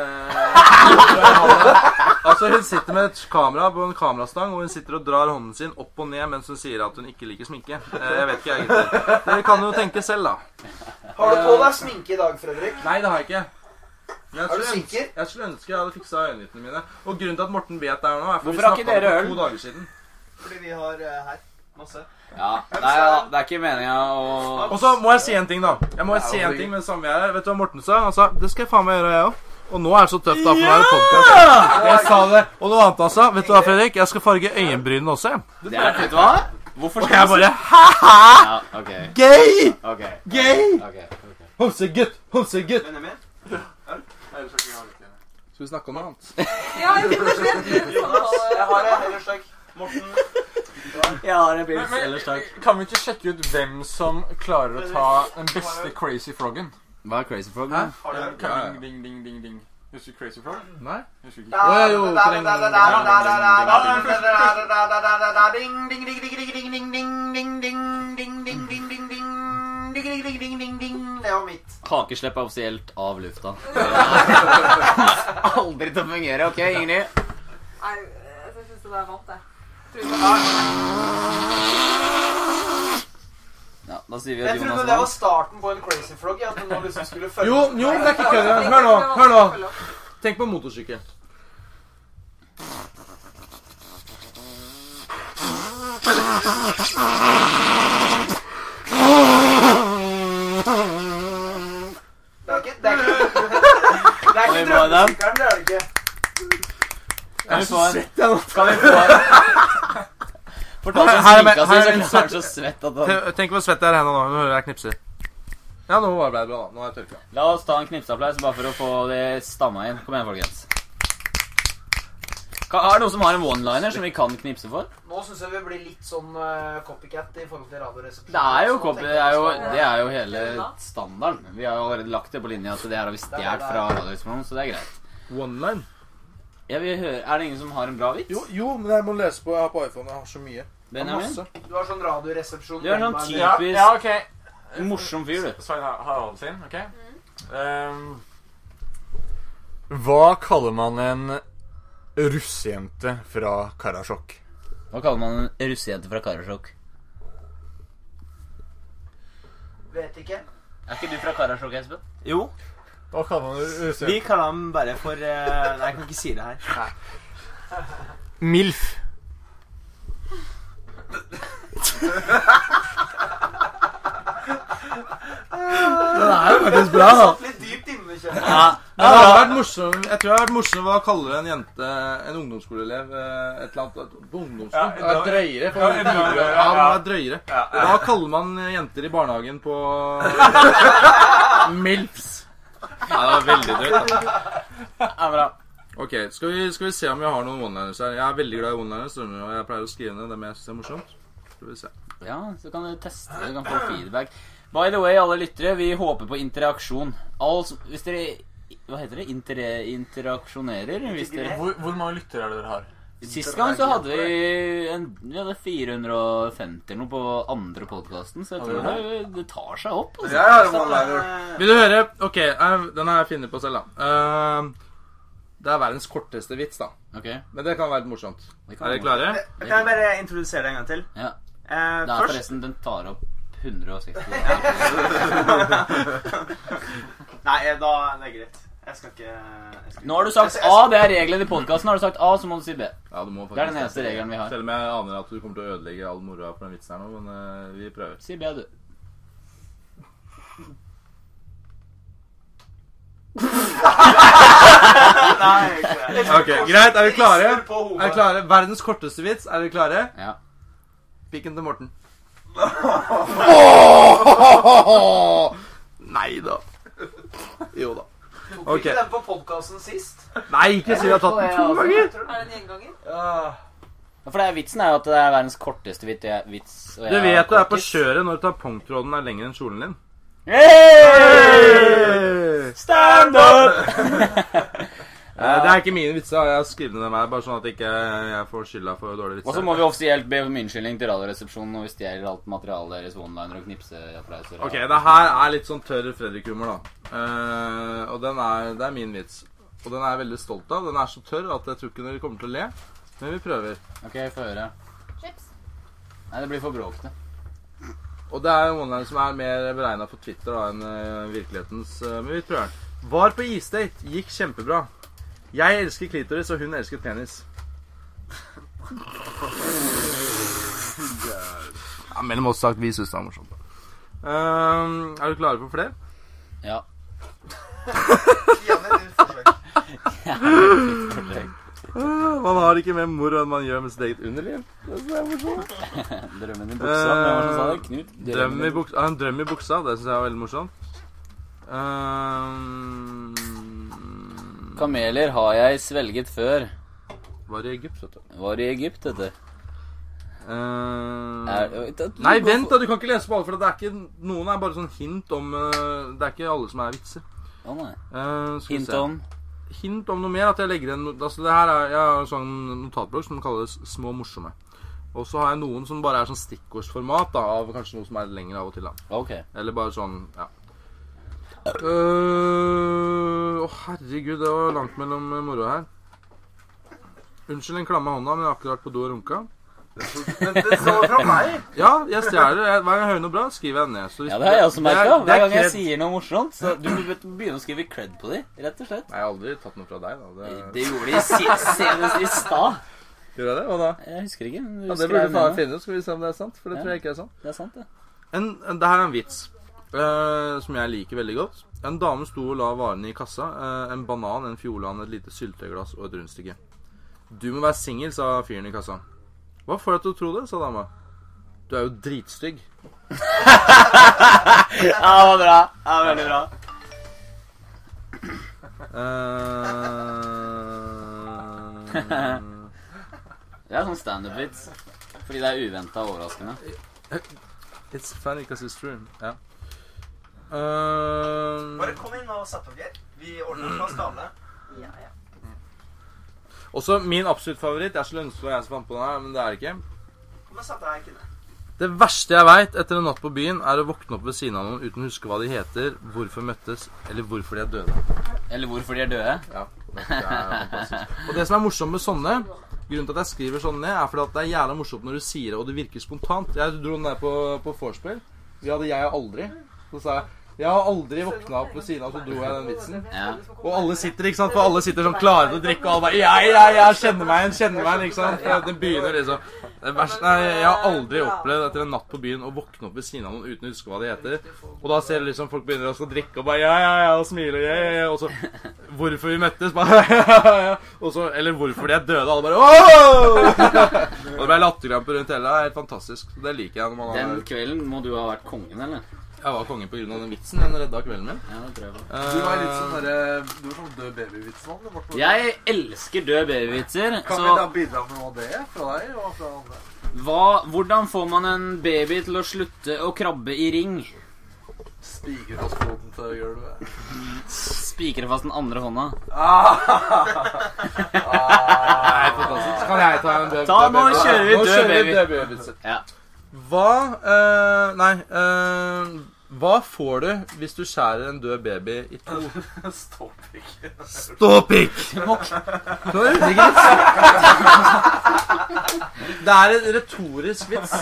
Speaker 4: Altså Hun sitter med et kamera på en kamerastang, og hun sitter og drar hånden sin opp og ned mens hun sier at hun ikke liker sminke. Eh, Jeg vet ikke, jeg, gutter. Dere kan jo tenke selv, da.
Speaker 3: Har du på deg sminke i dag, Fredrik?
Speaker 4: Nei, det har jeg ikke. Men jeg
Speaker 3: Er du
Speaker 4: skulle ønske-
Speaker 3: sikker?
Speaker 4: Jeg skulle ønske jeg hadde fiksa øyenvitene mine. Og grunnen til at Morten vet det her nå, er for
Speaker 1: Hvorfor
Speaker 4: vi
Speaker 1: har ikke
Speaker 4: snakket om det
Speaker 1: dere
Speaker 4: for
Speaker 1: øl?
Speaker 4: to dager siden.
Speaker 2: Fordi vi har eh, her masse.
Speaker 1: Ja, nei, ja, det er ikke meninga å
Speaker 4: Og så må jeg si en ting, da. Jeg må si en ting med det samme vi er her. Vet du hva Morten sa? Han sa det skal jeg faen meg gjøre, jeg òg. Og nå er det så tøft, da, for nå er det podkast. Jeg sa det. Og noe annet han sa. Vet du hva, Fredrik? Jeg skal farge øyenbrynene også, jeg.
Speaker 1: Det er Vet du hva? Hvorfor
Speaker 4: Og jeg
Speaker 1: skal du
Speaker 4: bare ha-ha!
Speaker 1: Ja, ok.
Speaker 4: Gay!
Speaker 1: Ok.
Speaker 4: Gay!
Speaker 1: ok.
Speaker 4: Homsegutt! Homsegutt!
Speaker 2: Benjamin?
Speaker 4: Skal vi snakke om noe annet?
Speaker 8: Ja, jeg vet ikke, jeg vet ikke.
Speaker 3: Jeg har det. Ellers takk.
Speaker 2: Morten?
Speaker 1: Jeg har en pils,
Speaker 6: Men-
Speaker 1: ellers takk.
Speaker 6: Kan vi ikke sjekke ut hvem som klarer å ta den beste Crazy Froggen?
Speaker 1: Hva er Crazy Frog?
Speaker 4: Hæ?
Speaker 2: Har du
Speaker 6: Eh,
Speaker 2: hørt?
Speaker 4: Ja, ja.
Speaker 6: Ding, ding, ding, ding, ding. Husker du Crazy Frog?
Speaker 4: Nei?
Speaker 6: Husker
Speaker 4: Å
Speaker 6: ikke.
Speaker 4: ja, jo. Trenger
Speaker 2: Det var mitt.
Speaker 1: Kakeslepp er offisielt av lufta. Aldri til å fungere. Ok, Ingrid.
Speaker 8: Nei, jeg syns det der vant, jeg. Tror ikke det
Speaker 1: Ja, da sier vi
Speaker 3: Jeg
Speaker 1: at Jonas
Speaker 3: trodde det var starten på en crazy frog. At den nå liksom skulle følge
Speaker 4: Jo, jo, men det er ikke kødd. engang. Hør nå. Hør nå. Tenk på motorsykkel.
Speaker 3: Det er ikke, det er ikke, Det er
Speaker 1: Kan vi få en?
Speaker 3: ikke drømmesykkelen, det er det ikke.
Speaker 1: Kan vi få en?
Speaker 4: jeg nå.
Speaker 1: Kan vi få en? Fortalte
Speaker 4: Her-
Speaker 1: han
Speaker 4: her er
Speaker 1: sminka
Speaker 4: min-
Speaker 1: si,
Speaker 4: her er
Speaker 1: så
Speaker 4: min
Speaker 1: ble han så svett at han
Speaker 4: Te- Tenk hvor svett jeg er her nå. Nå hører jeg knipser. Ja, nå var det bra. da. Nå har jeg tørka.
Speaker 1: La oss ta en knipseapplaus bare for å få det stamma inn. Kom igjen, folkens. Ka- Er det noen som har en one-liner som vi kan knipse for?
Speaker 3: Nå syns jeg vi blir litt sånn eh, copycat i forhold til Radioresepsjonen.
Speaker 1: Det er jo,
Speaker 3: Så nå
Speaker 1: copy,
Speaker 3: tenker
Speaker 1: det er jo,
Speaker 3: jeg at-
Speaker 1: det er jo hele standarden. Vi har jo allerede lagt det på linja at det her har vi stjålet fra Radioresepsjonen, så det er greit.
Speaker 4: One line.
Speaker 1: Jeg vil høre, Er det ingen som har en bra vits?
Speaker 4: Jo, jo, men jeg må lese på. Jeg har på iPhone. Jeg har så mye. Jeg har
Speaker 1: Benjamin?
Speaker 4: masse.
Speaker 3: Du har sånn radioresepsjon
Speaker 1: Du er sånn
Speaker 3: hjemme,
Speaker 1: typ-
Speaker 6: Ja,
Speaker 1: Typisk.
Speaker 6: ja, ok.
Speaker 1: Morsom fyr, du.
Speaker 6: Svein Har- Harald sin, ok? Ehm, hva kaller man en russejente fra Karasjok?
Speaker 1: Hva kaller man en russejente fra Karasjok?
Speaker 3: eller- Vet ikke.
Speaker 1: Er ikke du fra Karasjok, Espen?
Speaker 2: Jo,
Speaker 6: Hva kaller man en
Speaker 2: vi
Speaker 6: russejente?
Speaker 2: kaller dem bare for eh, Nei, jeg kan ikke si det her.
Speaker 6: Milf.
Speaker 4: Den er jo faktisk bra, da.
Speaker 3: Satt litt dypt inne, kjenner jeg.
Speaker 4: Ja, det hadde vært morsom, jeg tror det hadde vært morsomt å kalle en jente en ungdomsskoleelev eh, et eller annet på ungdomsskolen.
Speaker 6: Ja,
Speaker 4: det var drøyere. På
Speaker 6: ja, ja, ja, ja.
Speaker 4: ja, det var drøyere. Da kaller man jenter i barnehagen på Milfs. Ja, det var veldig drøyt. da.
Speaker 1: Ja, bra.
Speaker 4: Ok, skal vi, skal vi se om jeg har noen one-liners her. Jeg er veldig glad i one-liners, skjønner du, og jeg pleier å skrive ned dem jeg syns er morsomt. Skal vi se.
Speaker 1: Ja, så kan du teste, du kan få feedback. By the way, alle lyttere, vi håper på interaksjon. All, som- hvis dere Hva heter det? Inter, interaksjonerer? Hvis dere,
Speaker 6: Hvor, hvor mange lyttere er det dere har?
Speaker 1: sist gang så hadde vi, en, vi hadde 450 eller noe på andre podkasten, så jeg tror det, det tar seg opp. Altså.
Speaker 5: Jeg har en
Speaker 2: Sånn,
Speaker 5: one-liner.
Speaker 4: Vil du høre? Ok, eh, den har jeg funnet på selv, da. Eh, det er verdens korteste vits, da.
Speaker 1: Ok,
Speaker 4: Men det kan være litt morsomt.
Speaker 1: det kan
Speaker 4: Er dere
Speaker 1: være.
Speaker 4: klare?
Speaker 2: eh, Kan jeg bare introdusere det en gang til?
Speaker 1: Ja.
Speaker 2: Eh,
Speaker 1: Det er
Speaker 2: først
Speaker 1: forresten Den tar opp 160
Speaker 2: Nei, eh, da det er greit. Jeg skal ikke jeg skal...
Speaker 1: Nå har du sagt A, det er regelen i podkasten. Har du sagt A, så må du si B.
Speaker 4: Ja, du må faktisk
Speaker 1: Det er den eneste regelen vi har.
Speaker 4: Selv om jeg aner at du kommer til å ødelegge all moroa på den vitsen her nå, men eh, vi prøver.
Speaker 1: Si B, du.
Speaker 2: Nei, ikke det.
Speaker 4: Ok, Greit, er dere klare?
Speaker 3: Rister på
Speaker 4: Er
Speaker 3: hodet.
Speaker 4: dere klare? Verdens korteste vits, er dere klare?
Speaker 1: Ja.
Speaker 4: Pikken til Morten. Nei da. Jo da.
Speaker 3: Tok
Speaker 4: Ok.
Speaker 3: vi ikke den på podkasten sist?
Speaker 4: Nei, ikke si vi har tatt den to ganger!
Speaker 8: Er det en gjenganger?
Speaker 1: Ja, For det er vitsen er jo at det er verdens korteste vit- jeg- vits. og
Speaker 4: Du
Speaker 1: jeg
Speaker 4: vet du er på
Speaker 1: kortis.
Speaker 4: kjøret når tampongtråden er lengre enn kjolen din.
Speaker 1: Hey! Stand up!
Speaker 4: Eh, Det er ikke mine vitser, jeg har skrevet dem her, bare sånn at ikke jeg får skylda for dårlige vitser.
Speaker 1: Og så må vi offisielt be om unnskyldning til Radioresepsjonen når vi stjeler alt materialet deres one-liner og knipseapplauser.
Speaker 4: Ok, det her er litt sånn tørr Fredrik-humor, da. Eh, og den er, det er min vits. Og den er jeg veldig stolt av. Den er så tørr at jeg tror ikke dere kommer til å le. Men vi prøver.
Speaker 1: Ok, få høre.
Speaker 9: Chips.
Speaker 4: Mm.
Speaker 1: Nei, det blir for bråkete.
Speaker 4: Og det er noen som er mer beregna for Twitter da enn eh, virkelighetens. eh, men vi prøver den. Var på isdate. Gikk kjempebra. Jeg elsker klitoris, og hun elsker penis. ja, mellom oss sagt, vi syns det er morsomt. da. Eh, er du klare for flere?
Speaker 1: Ja.
Speaker 2: Janne, ditt forsøk.
Speaker 4: Eh, Man har ikke mer moro enn man gjør med sitt eget underliv. Det synes jeg er morsomt.
Speaker 1: Drømmen i buksa. Hvem var det som sa
Speaker 4: Eh,
Speaker 1: det? Knut?
Speaker 4: Drøm i buksa, ah, en drøm i buksa, det syns jeg var veldig morsomt. Ehm,
Speaker 1: Kameler har jeg svelget før.
Speaker 4: var i Egypt, vet du.
Speaker 1: Var i Egypt, dette.
Speaker 4: Ehm,
Speaker 1: Er, det-
Speaker 4: nei, vent, da! Du kan ikke lese på alle, for det er ikke noen er bare sånn hint om eh, Det er ikke alle som er vitser.
Speaker 1: Å nei.
Speaker 4: Ehm, skal vi
Speaker 1: Hint
Speaker 4: se.
Speaker 1: om
Speaker 4: hint om noe mer. At jeg legger en not- altså, det her er, Jeg har en sånn notatblokk som kalles Små morsomme. Og så har jeg noen som bare er sånn stikkordsformat da, av kanskje noe som er lengre av og til. da
Speaker 1: Ok.
Speaker 4: Eller bare sånn, ja. Øh, Å, herregud, det var langt mellom eh, moroa her. Unnskyld den klamme hånda, men jeg har akkurat vært på do og runka.
Speaker 5: Men det står fra meg.
Speaker 4: Ja, jeg stjeler. Jeg, hver gang jeg hører noe bra, skriver jeg det ned. Så hvis-
Speaker 1: Ja, det har jeg også
Speaker 4: det er-
Speaker 1: merka.
Speaker 4: det
Speaker 1: Hver
Speaker 4: er
Speaker 1: gang jeg
Speaker 4: cred.
Speaker 1: sier noe morsomt, så du må begynne å skrive cred på dem, rett og slett.
Speaker 4: Nei, jeg har aldri tatt noe fra deg, da. Det...
Speaker 1: Det gjorde de se- senest i stad.
Speaker 4: Gjorde jeg det? Hva da?
Speaker 1: Jeg husker ikke. men du
Speaker 4: Ja, det
Speaker 1: skrev
Speaker 4: burde
Speaker 1: ned
Speaker 4: faen
Speaker 1: noe.
Speaker 4: finne ut, skal vi se om det er sant. For det
Speaker 1: Ja.
Speaker 4: tror jeg ikke er sant.
Speaker 1: Det er sant, det.
Speaker 4: En, en, det her er en vits. eh, som jeg liker veldig godt. En dame sto og la varene i kassa. eh, en banan, en fiolan, et lite sylteglass og et rundstykke. Du må være singel, sa fyren i kassa. Hva får deg til å tro det, sa dama. Du er jo dritstygg.
Speaker 1: Ja, det var bra. Ja, veldig bra.
Speaker 4: Eh,
Speaker 1: Det er sånn standup-vits. Fordi det er uventa og overraskende.
Speaker 4: It's funny because it's true. Ja.
Speaker 2: Bare
Speaker 4: Eh,
Speaker 2: kom inn og sett dere. Vi ordner plass til alle.
Speaker 8: Ja, ja.
Speaker 4: også min absolutt favoritt. Det er så lønnsomt jeg som fant på den her, men det er det ikke.
Speaker 2: Kom og sett deg, Kine.
Speaker 4: Det verste jeg veit etter en natt på byen, er å våkne opp ved siden av noen uten å huske hva de heter, hvorfor møttes, eller hvorfor de er døde.
Speaker 1: Eller hvorfor de er døde.
Speaker 4: Ja, det er fantastisk. Og det som er morsomt med sånne, grunnen til at jeg skriver sånne ned, er fordi at det er jævla morsomt når du sier det, og det virker spontant. Jeg dro den der på, på vorspiel. Vi hadde 'jeg har aldri'. Så sa jeg 'jeg har aldri våkna opp ved siden av', så dro jeg den vitsen.
Speaker 1: Ja.
Speaker 4: Og alle sitter, ikke sant? For alle sitter sånn klare til å drikke, og alle bare Jeg, jeg, jeg kjenner meg igjen, kjenner meg igjen, ikke sant? For Den begynner liksom det verste, nei, Jeg har aldri opplevd etter en natt på byen å våkne opp ved siden av noen uten å huske hva de heter. Og da ser du liksom folk begynner å skal drikke og bare Ja, ja, ja, og smiler ja, ja, ja, og så Hvorfor vi møttes, bare ja, ja, ja. Og så Eller hvorfor de er døde, alle bare Åh! Og det ble latterkramper rundt hele. Det er helt fantastisk. Det liker jeg når man
Speaker 1: Den
Speaker 4: har
Speaker 1: kvelden må du ha vært kongen, eller?
Speaker 4: Jeg var konge på grunn av den vitsen. Den redda kvelden min.
Speaker 1: Ja, det tror jeg på.
Speaker 5: Du var litt
Speaker 4: Ehm,
Speaker 5: sånn derre Du var sånn død baby-vitsmann. Morten.
Speaker 1: Jeg elsker døde babyvitser.
Speaker 5: Kan vi da
Speaker 1: Så
Speaker 5: bidra med noe av det fra deg og fra andre?
Speaker 1: hva, hvordan får man en baby til å slutte å krabbe i ring?
Speaker 5: Spiger oss foten til gulvet.
Speaker 1: Spikre fast den andre hånda.
Speaker 5: Ah.
Speaker 4: Nei, fantastisk. Kan jeg ta en død
Speaker 1: Ta, nå
Speaker 4: død-
Speaker 1: kjører vi
Speaker 4: Nå
Speaker 1: død
Speaker 4: kjører vi
Speaker 1: baby.
Speaker 4: død baby.
Speaker 1: Ja.
Speaker 4: Hva eh, Nei. eh, hva får du hvis du skjærer en død baby i to?
Speaker 5: Stopp ikke.
Speaker 4: Ståpikk! Det er ikke vits. Det er en retorisk vits.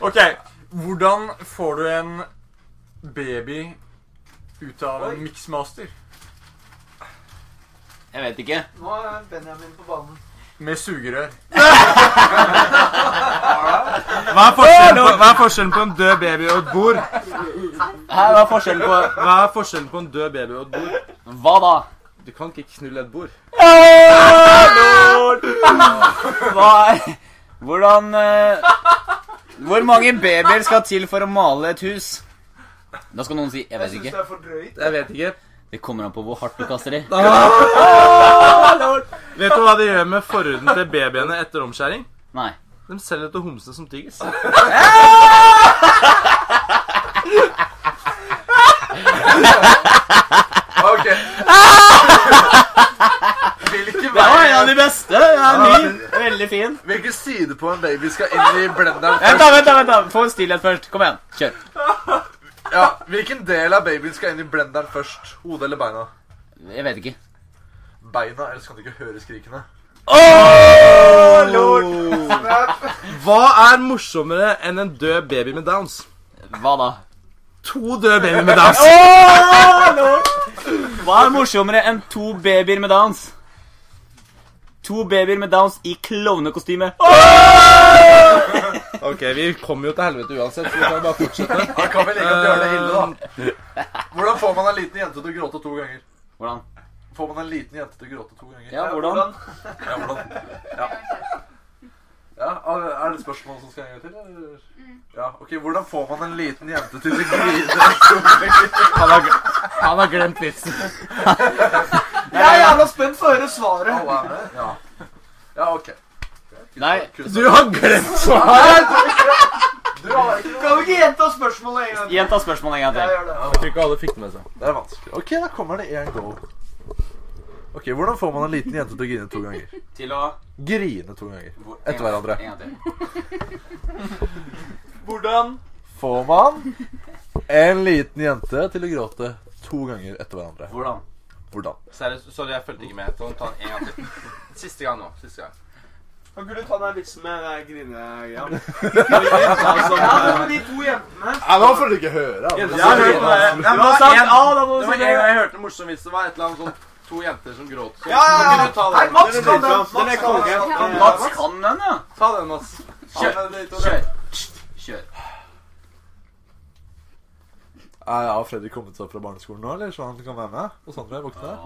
Speaker 6: Ok, hvordan får du en baby ut av en mixmaster?
Speaker 1: Jeg vet ikke.
Speaker 3: Nå er Benjamin på banen.
Speaker 6: Med sugerør.
Speaker 4: Hva er forskjellen på, hva er forskjellen på en død baby og et bord?
Speaker 1: Her var forskjellen på
Speaker 4: Hva er forskjellen på en død baby og et bord?
Speaker 1: Hva da?
Speaker 4: Du kan ikke knulle et bord.
Speaker 1: Hva er Hvordan eh, Hvor mange babyer skal til for å male et hus? Da skal noen si 'jeg vet
Speaker 3: Syns
Speaker 1: ikke'.
Speaker 3: det er for drøyt.
Speaker 4: Jeg vet ikke.
Speaker 1: Det kommer an på hvor hardt du kaster i.
Speaker 4: Vet du hva de gjør med forhuden til babyene etter omskjæring?
Speaker 1: Nei.
Speaker 4: De selger til homsene som tigges.
Speaker 5: Ah. Ok. Hvilke,
Speaker 1: Det var en
Speaker 5: veier,
Speaker 1: av de beste. Den er ny. Veldig fin.
Speaker 5: hvilke sider på en baby skal inn i blenderen
Speaker 1: Vent,
Speaker 5: først?
Speaker 1: da, vent, da, vent da. Få stillhet først. Kom igjen. Kjør.
Speaker 5: Ja, hvilken del av babyen skal inn i blenderen først? Hodet eller beina?
Speaker 1: Jeg vet ikke.
Speaker 5: Beina, ellers kan du ikke høre skrikene.
Speaker 4: Hva er morsommere enn en død baby med downs?
Speaker 1: Hva da?
Speaker 4: To døde babyer med downs.
Speaker 1: Hva er morsommere enn to babyer med downs? To babyer med downs i klovnekostyme.
Speaker 4: Ok, vi kommer jo til helvete uansett, så vi kan bare
Speaker 5: Da
Speaker 4: fortsette.
Speaker 5: kan vi like at gjøre det ille, da. Hvordan får man en liten jente til å gråte to ganger?
Speaker 1: Hvordan?
Speaker 5: Får man en liten jente til å gråte to ganger?
Speaker 1: Ja, hvordan?
Speaker 5: Ja, hvordan? Ja. Ja, Er det et spørsmål som skal en gang til? eller? Ja, ok, Hvordan får man en liten jente til å grine?
Speaker 4: Han har glemt vitsen.
Speaker 3: Jeg er jævla spent på å høre svaret.
Speaker 5: Alle er med? Ja, ja ok. sånn.
Speaker 1: Nei.
Speaker 4: Eh, Du har glemt svaret!
Speaker 5: Du har ikke noe
Speaker 3: Kan vi ikke gjenta spørsmålet en gang til?
Speaker 1: Gjenta spørsmålet en gang
Speaker 3: Jeg
Speaker 1: til.
Speaker 3: gjør det.
Speaker 4: Jeg tror ikke alle fikk det med seg.
Speaker 5: Det er vanskelig. Ok, da kommer det én go. Ok, Hvordan får man en liten jente til å grine to ganger?
Speaker 1: Til å
Speaker 5: Grine to ganger. Etter hverandre.
Speaker 1: En gang til.
Speaker 3: Hvordan?
Speaker 5: Får man en liten jente til å gråte to ganger etter hverandre?
Speaker 1: Hvordan?
Speaker 5: Hvordan?
Speaker 10: Seriøst, sorry, jeg fulgte ikke med. Ta den ta den en gang til. Siste gang nå. siste gang.
Speaker 2: Kan ikke du ta den vitsen med den grinegreia?
Speaker 3: Ja, det med de to jentene.
Speaker 5: Nei, Nå får du ikke høre. Altså.
Speaker 10: Jeg hørte det.
Speaker 5: det.
Speaker 10: Ja, men det var en- det var en gang jeg hørte en morsom vits. Det var et eller annet sånn to jenter som gråt. Så,
Speaker 2: ja, ja.
Speaker 10: Kunne du ta
Speaker 3: Nei,
Speaker 10: den?
Speaker 3: Mats kan den. Mats
Speaker 2: Den er
Speaker 3: kan den.
Speaker 2: konge.
Speaker 1: Mats kan den, ja.
Speaker 10: Ta den, Mats.
Speaker 1: Kjør. Kjør.
Speaker 5: Er har Fredrik kommet seg opp fra barneskolen nå, eller så han kan være med? Og Sondre våkne?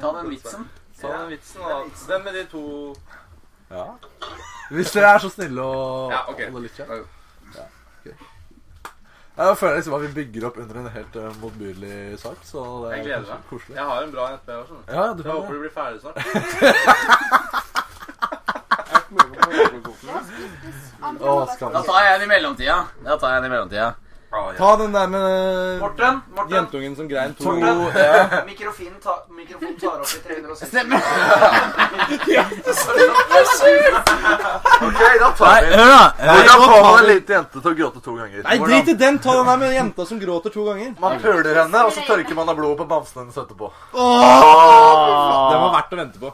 Speaker 1: Ta den vitsen.
Speaker 10: Ta den vitsen, da. Den med de to
Speaker 5: Ja. Hvis dere er så snille å
Speaker 10: Ja, ok.
Speaker 5: holde litt kjeft. Ja, ok. Jeg føler liksom at vi bygger opp under en helt eh, motbydelig sak. Så det er
Speaker 10: Jeg gleder meg.
Speaker 5: Koselig.
Speaker 10: Jeg har en bra NP her. Sånn.
Speaker 5: Ja, ja, du
Speaker 10: jeg
Speaker 5: får
Speaker 10: håper
Speaker 5: det.
Speaker 10: du blir ferdig snart.
Speaker 5: Å, skam.
Speaker 1: Da tar jeg den i mellomtida. Da tar jeg den i mellomtida.
Speaker 5: Ta den der med
Speaker 3: Morten, Morten.
Speaker 5: jentungen som grein to
Speaker 3: Morten.
Speaker 5: ja.
Speaker 3: Mikrofonen ta, mikrofon tar opp i 360.
Speaker 5: Ok, da tar vi
Speaker 1: Hør, da.
Speaker 5: Hvordan får man en liten jente til å gråte to ganger?
Speaker 4: Nei, drit i den! Ta den der med jenta som gråter to ganger.
Speaker 5: Man puler henne, og så tørker man av blodet på bamsen hennes etterpå. Ah.
Speaker 4: Den var verdt å vente på.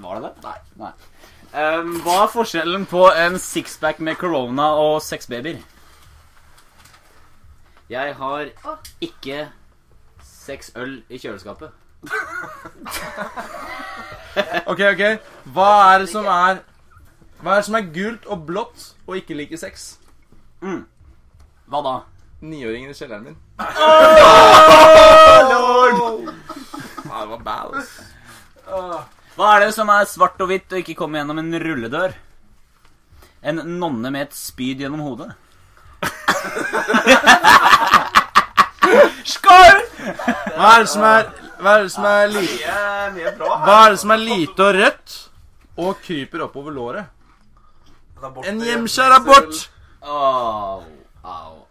Speaker 1: Var det det? Nei. Nei. Ehm, hva er forskjellen på en sixpack med corona og seks babyer? Jeg har ikke seks øl i kjøleskapet.
Speaker 4: Ok, ok. Hva er det som er Hva er det som er gult og blått og ikke liker sex?
Speaker 1: Hva da?
Speaker 4: Niåringen i kjelleren min. Ja, det var bad, ass.
Speaker 1: Hva er det som er svart og hvitt og ikke kommer gjennom en rulledør? En nonne med et spyd gjennom hodet. Skål!
Speaker 4: Hva er det som er Hva er det som er lite
Speaker 2: Mye bra her.
Speaker 4: Hva er det som er lite og rødt og kryper oppover låret? En hjemskjæra bort!
Speaker 1: Au, au,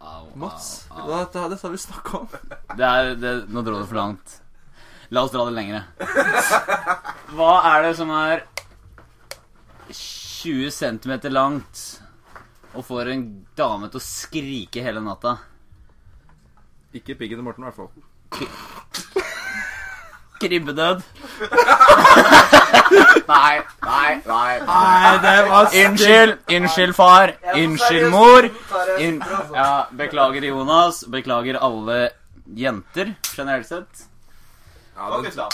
Speaker 1: au.
Speaker 4: Mats, dette, dette har vi snakka om.
Speaker 1: Det er, det, nå dro det for langt. La oss dra det lengre. Hva er det som er 20 cm langt og får en dame til å skrike hele natta?
Speaker 4: Ikke piggen til Morten, i hvert fall.
Speaker 1: Kribbedød. nei, nei, nei.
Speaker 4: Nei, det var
Speaker 1: Unnskyld, unnskyld far, unnskyld mor. Inn-
Speaker 3: Ja.
Speaker 1: ja, beklager Jonas, beklager alle jenter generelt sett. Ja, gutter,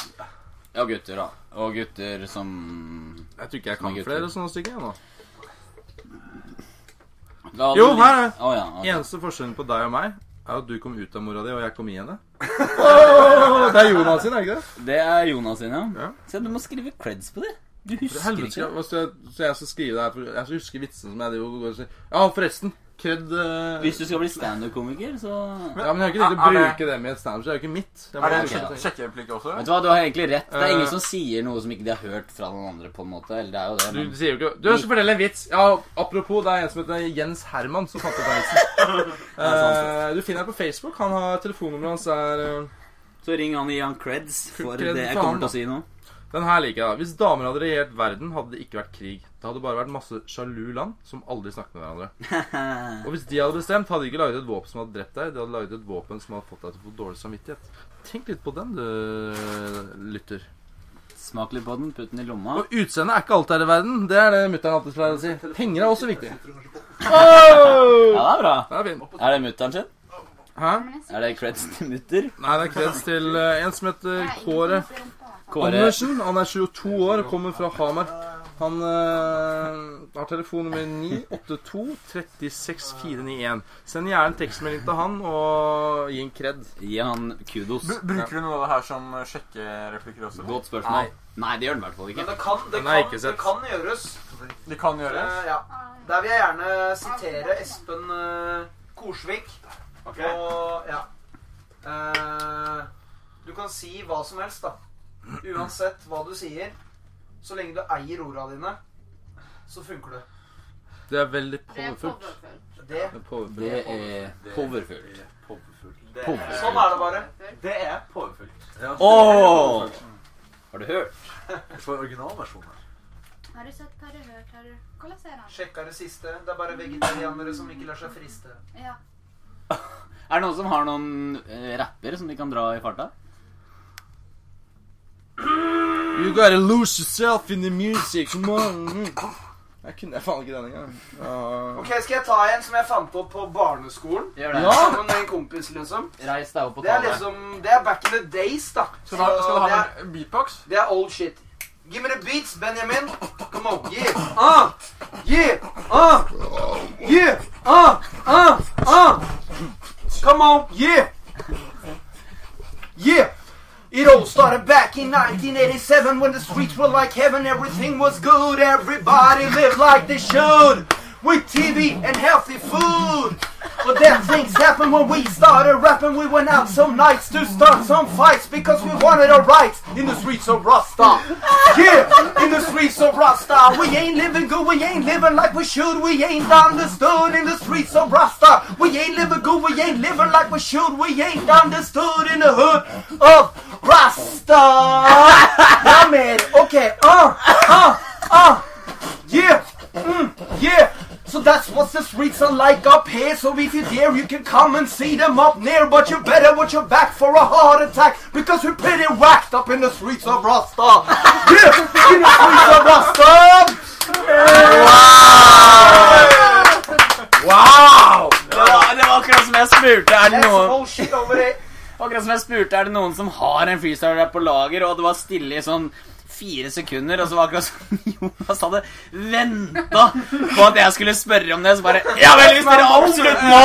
Speaker 1: da. Og gutter som
Speaker 4: Jeg tror ikke jeg kan flere sånne stykker. jeg, nå.
Speaker 1: La
Speaker 4: Jo,
Speaker 1: den-
Speaker 4: her er det.
Speaker 1: Å, ja, ok.
Speaker 4: Eneste forskjellen på deg og meg er at du kom ut av mora di, og jeg kom i henne. Åh, det er Jonas sin, er ikke det?
Speaker 1: Det er Jonas sin, ja.
Speaker 4: Ja.
Speaker 1: Se, du må skrive creds på det. Du
Speaker 4: For
Speaker 1: husker
Speaker 4: helvete,
Speaker 1: ikke.
Speaker 4: skal, hva skal jeg, så jeg skal skrive det her for, Jeg skal huske vitsene som jeg driver og går og sier. Ja, forresten. Kred eh,
Speaker 1: Hvis du skal bli standup-komiker, så
Speaker 4: Ja, men jeg har ikke tenkt å
Speaker 7: Er det-
Speaker 4: bruke det med et standup, så det er jo ikke mitt. Jeg må
Speaker 7: Er det en
Speaker 4: bruke
Speaker 7: sjekke- sjekkereplikk også?
Speaker 1: Vet du hva, du har egentlig rett. Det er ingen
Speaker 4: Eh.
Speaker 1: som sier noe som ikke de har hørt fra noen andre, på en måte. Eller det er jo det,
Speaker 4: Du
Speaker 1: men
Speaker 4: sier jo ikke Du skal fortelle en vits. Ja, Apropos, det er en som heter Jens Herman som fant opp den vitsen. Eh, du finner ham på Facebook. Han har Telefonnummeret hans er eh,
Speaker 1: Så ring han og gi han creds for
Speaker 4: Creds
Speaker 1: det jeg
Speaker 4: for
Speaker 1: kommer
Speaker 4: han,
Speaker 1: til å si nå.
Speaker 4: Den her liker jeg. da. Hvis damer hadde regjert verden, hadde det ikke vært krig. Det hadde bare vært masse sjalu land som aldri snakket med hverandre.
Speaker 1: Eh.
Speaker 4: Og hvis de hadde bestemt, hadde de ikke laget et våpen som hadde drept deg. De hadde laget et våpen som hadde fått deg til å få dårlig samvittighet. Tenk litt på den, du lytter.
Speaker 1: Smak litt på den, putt den i lomma.
Speaker 4: Og utseendet er ikke alt her i verden. Det er det mutter'n alltid pleier å si. Penger er også viktig.
Speaker 1: Ja, det er bra.
Speaker 4: Det er fint.
Speaker 1: Er det mutter'n sin?
Speaker 4: Hæ?
Speaker 1: Er det creds til mutter?
Speaker 4: Nei, det er kreds til eh, en som heter Kåre
Speaker 1: Kåre
Speaker 4: Andersen. Han er 22 år og kommer fra Hamar. Han eh, har telefonnummer 982 36491. Send gjerne en tekstmelding til han og gi en kred.
Speaker 1: Gi han kudos.
Speaker 7: Bru- Bruker du noe av det her som eh, sjekkereplikker også?
Speaker 1: Godt spørsmål. Nei, det gjør han i hvert fall
Speaker 3: Men
Speaker 1: ikke.
Speaker 3: det kan, det
Speaker 4: Den har jeg
Speaker 3: kan,
Speaker 4: ikke
Speaker 3: det
Speaker 4: sett.
Speaker 3: kan gjøres.
Speaker 7: De kan gjøre det.
Speaker 3: Eh, ja. Der vil jeg gjerne sitere Espen eh, Korsvik. Og ja. Eh, du kan si hva som helst, da. Uansett hva du sier. Så lenge du eier orda dine, så funker det.
Speaker 4: Det er veldig
Speaker 9: Det er
Speaker 4: påfullt.
Speaker 9: powerful.
Speaker 3: Det,
Speaker 4: Det er påfullt.
Speaker 1: Det er Eh,
Speaker 4: Eh,
Speaker 1: powerful. Powerful.
Speaker 3: sånn er det bare. Det er påfullt.
Speaker 1: Åh! Har du hørt?
Speaker 5: Jeg får originalversjonen her.
Speaker 9: Har du sett, har du hørt, har du Hvordan ser han?
Speaker 3: Sjekka det siste. Det er bare vegetarianere som ikke lar seg friste.
Speaker 9: Ja.
Speaker 1: Er det noen som har noen eh, rapper som de kan dra i farta?
Speaker 4: You gotta lose yourself in the music. Come on. Mm. Jeg kunne jeg faen ikke den engang. Ja.
Speaker 3: Ok, Skal jeg ta en som jeg fant opp på barneskolen?
Speaker 1: Gjør det.
Speaker 3: Sammen med en kompis, liksom.
Speaker 1: Reis deg opp og
Speaker 3: Det
Speaker 1: ta
Speaker 3: er
Speaker 1: deg.
Speaker 3: liksom Det er back in the days, da.
Speaker 7: Skal du ha,
Speaker 3: Så
Speaker 7: skal du
Speaker 3: det
Speaker 7: ha
Speaker 3: er-
Speaker 7: en beatbox?
Speaker 3: Det er old shit. Give me the beats, Benjamin. Come on. Yeah. Uh. Ah. Yeah. Ah. Yeah. Ah. Ah. Ah. Uh. Come on, yeah! Yeah! It all started back in 1987 when the streets were like heaven, everything was good, everybody lived like they should. With TV and healthy food. But then things happened when we started rapping. We went out some nights to start some fights because we wanted our rights in the streets of Rasta. Yeah, in the streets of Rasta. We ain't living good, we ain't living like we should. We ain't understood in the streets of Rasta. We ain't living good, we ain't living like we should. We ain't understood in the hood of Rasta. yeah, man. Okay. Uh, uh, uh. Yeah. Mm, yeah. So that's what the streets are like up here. So if you dare, you can come and see them up near. But you better watch your back for a heart attack because we're pretty whacked up in the streets of Rasta. yeah, in the streets of Rasta.
Speaker 1: Wow! Det var, det var akkurat som jeg spurte. Er det
Speaker 3: That's
Speaker 1: noen,
Speaker 3: bullshit over it.
Speaker 1: akkurat som jeg spurte, er det noen som har en freestyle-rap på lager? Og det var stille i sånn fire sekunder, og så var det akkurat som Jonas hadde venta på at jeg skulle spørre om det. Så bare Ja vel, hvis dere absolutt må,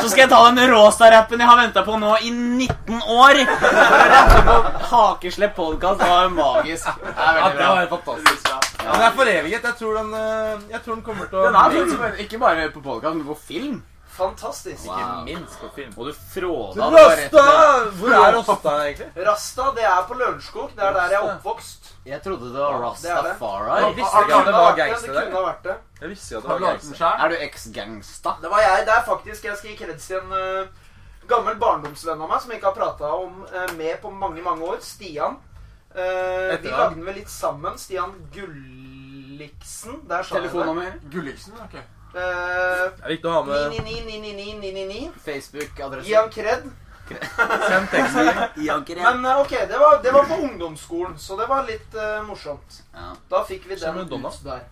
Speaker 1: så skal jeg ta den Råstad-rappen jeg har venta på nå i 19 år! For å rappe på Hakeslepp podcast det var magisk. Det er veldig bra.
Speaker 7: fantastisk.
Speaker 4: Ja, Den er foreviget. Jeg tror den, eh, jeg tror den kommer til å
Speaker 1: Den er faktisk bare- ikke bare på podcast, men på film.
Speaker 3: Fantastisk.
Speaker 1: Wow.
Speaker 7: Minst på film.
Speaker 1: Og du fråda det bare
Speaker 4: Rasta!
Speaker 1: etter.
Speaker 4: Hvor er Rasta egentlig?
Speaker 3: Rasta, det er på Lørenskog. Det er der jeg er oppvokst.
Speaker 1: Jeg trodde det var
Speaker 3: Det er det.
Speaker 1: Rastafari.
Speaker 4: visste ikke at det var
Speaker 3: vært
Speaker 4: gangster
Speaker 3: det. kunne ha vært det.
Speaker 4: Jeg visste jo at
Speaker 7: Har du lagd den sjæl?
Speaker 1: Er du eks-gangsta?
Speaker 3: Det var jeg. Det er faktisk Jeg skal gi kreds til en eh, gammel barndomsvenn av meg som jeg ikke har prata om eh, med på mange, mange år. Stian. Eh, vi
Speaker 7: Etternavn?
Speaker 3: lagde den vel litt sammen. Stian Gulliksen. Der sa jeg det.
Speaker 1: Telefonnummer?
Speaker 7: Gulliksen? ok.
Speaker 3: Eh,
Speaker 4: Det er viktig å ha med
Speaker 3: 9999999. Gi
Speaker 1: Facebook-adresse?
Speaker 3: han kred.
Speaker 4: Send tekstmelding.
Speaker 1: Janker.
Speaker 3: Men eh, ok, det var, det var på ungdomsskolen, så det var litt eh, morsomt.
Speaker 1: Ja.
Speaker 3: Da fikk vi
Speaker 4: Som
Speaker 3: den
Speaker 4: med Donna.
Speaker 3: ut der.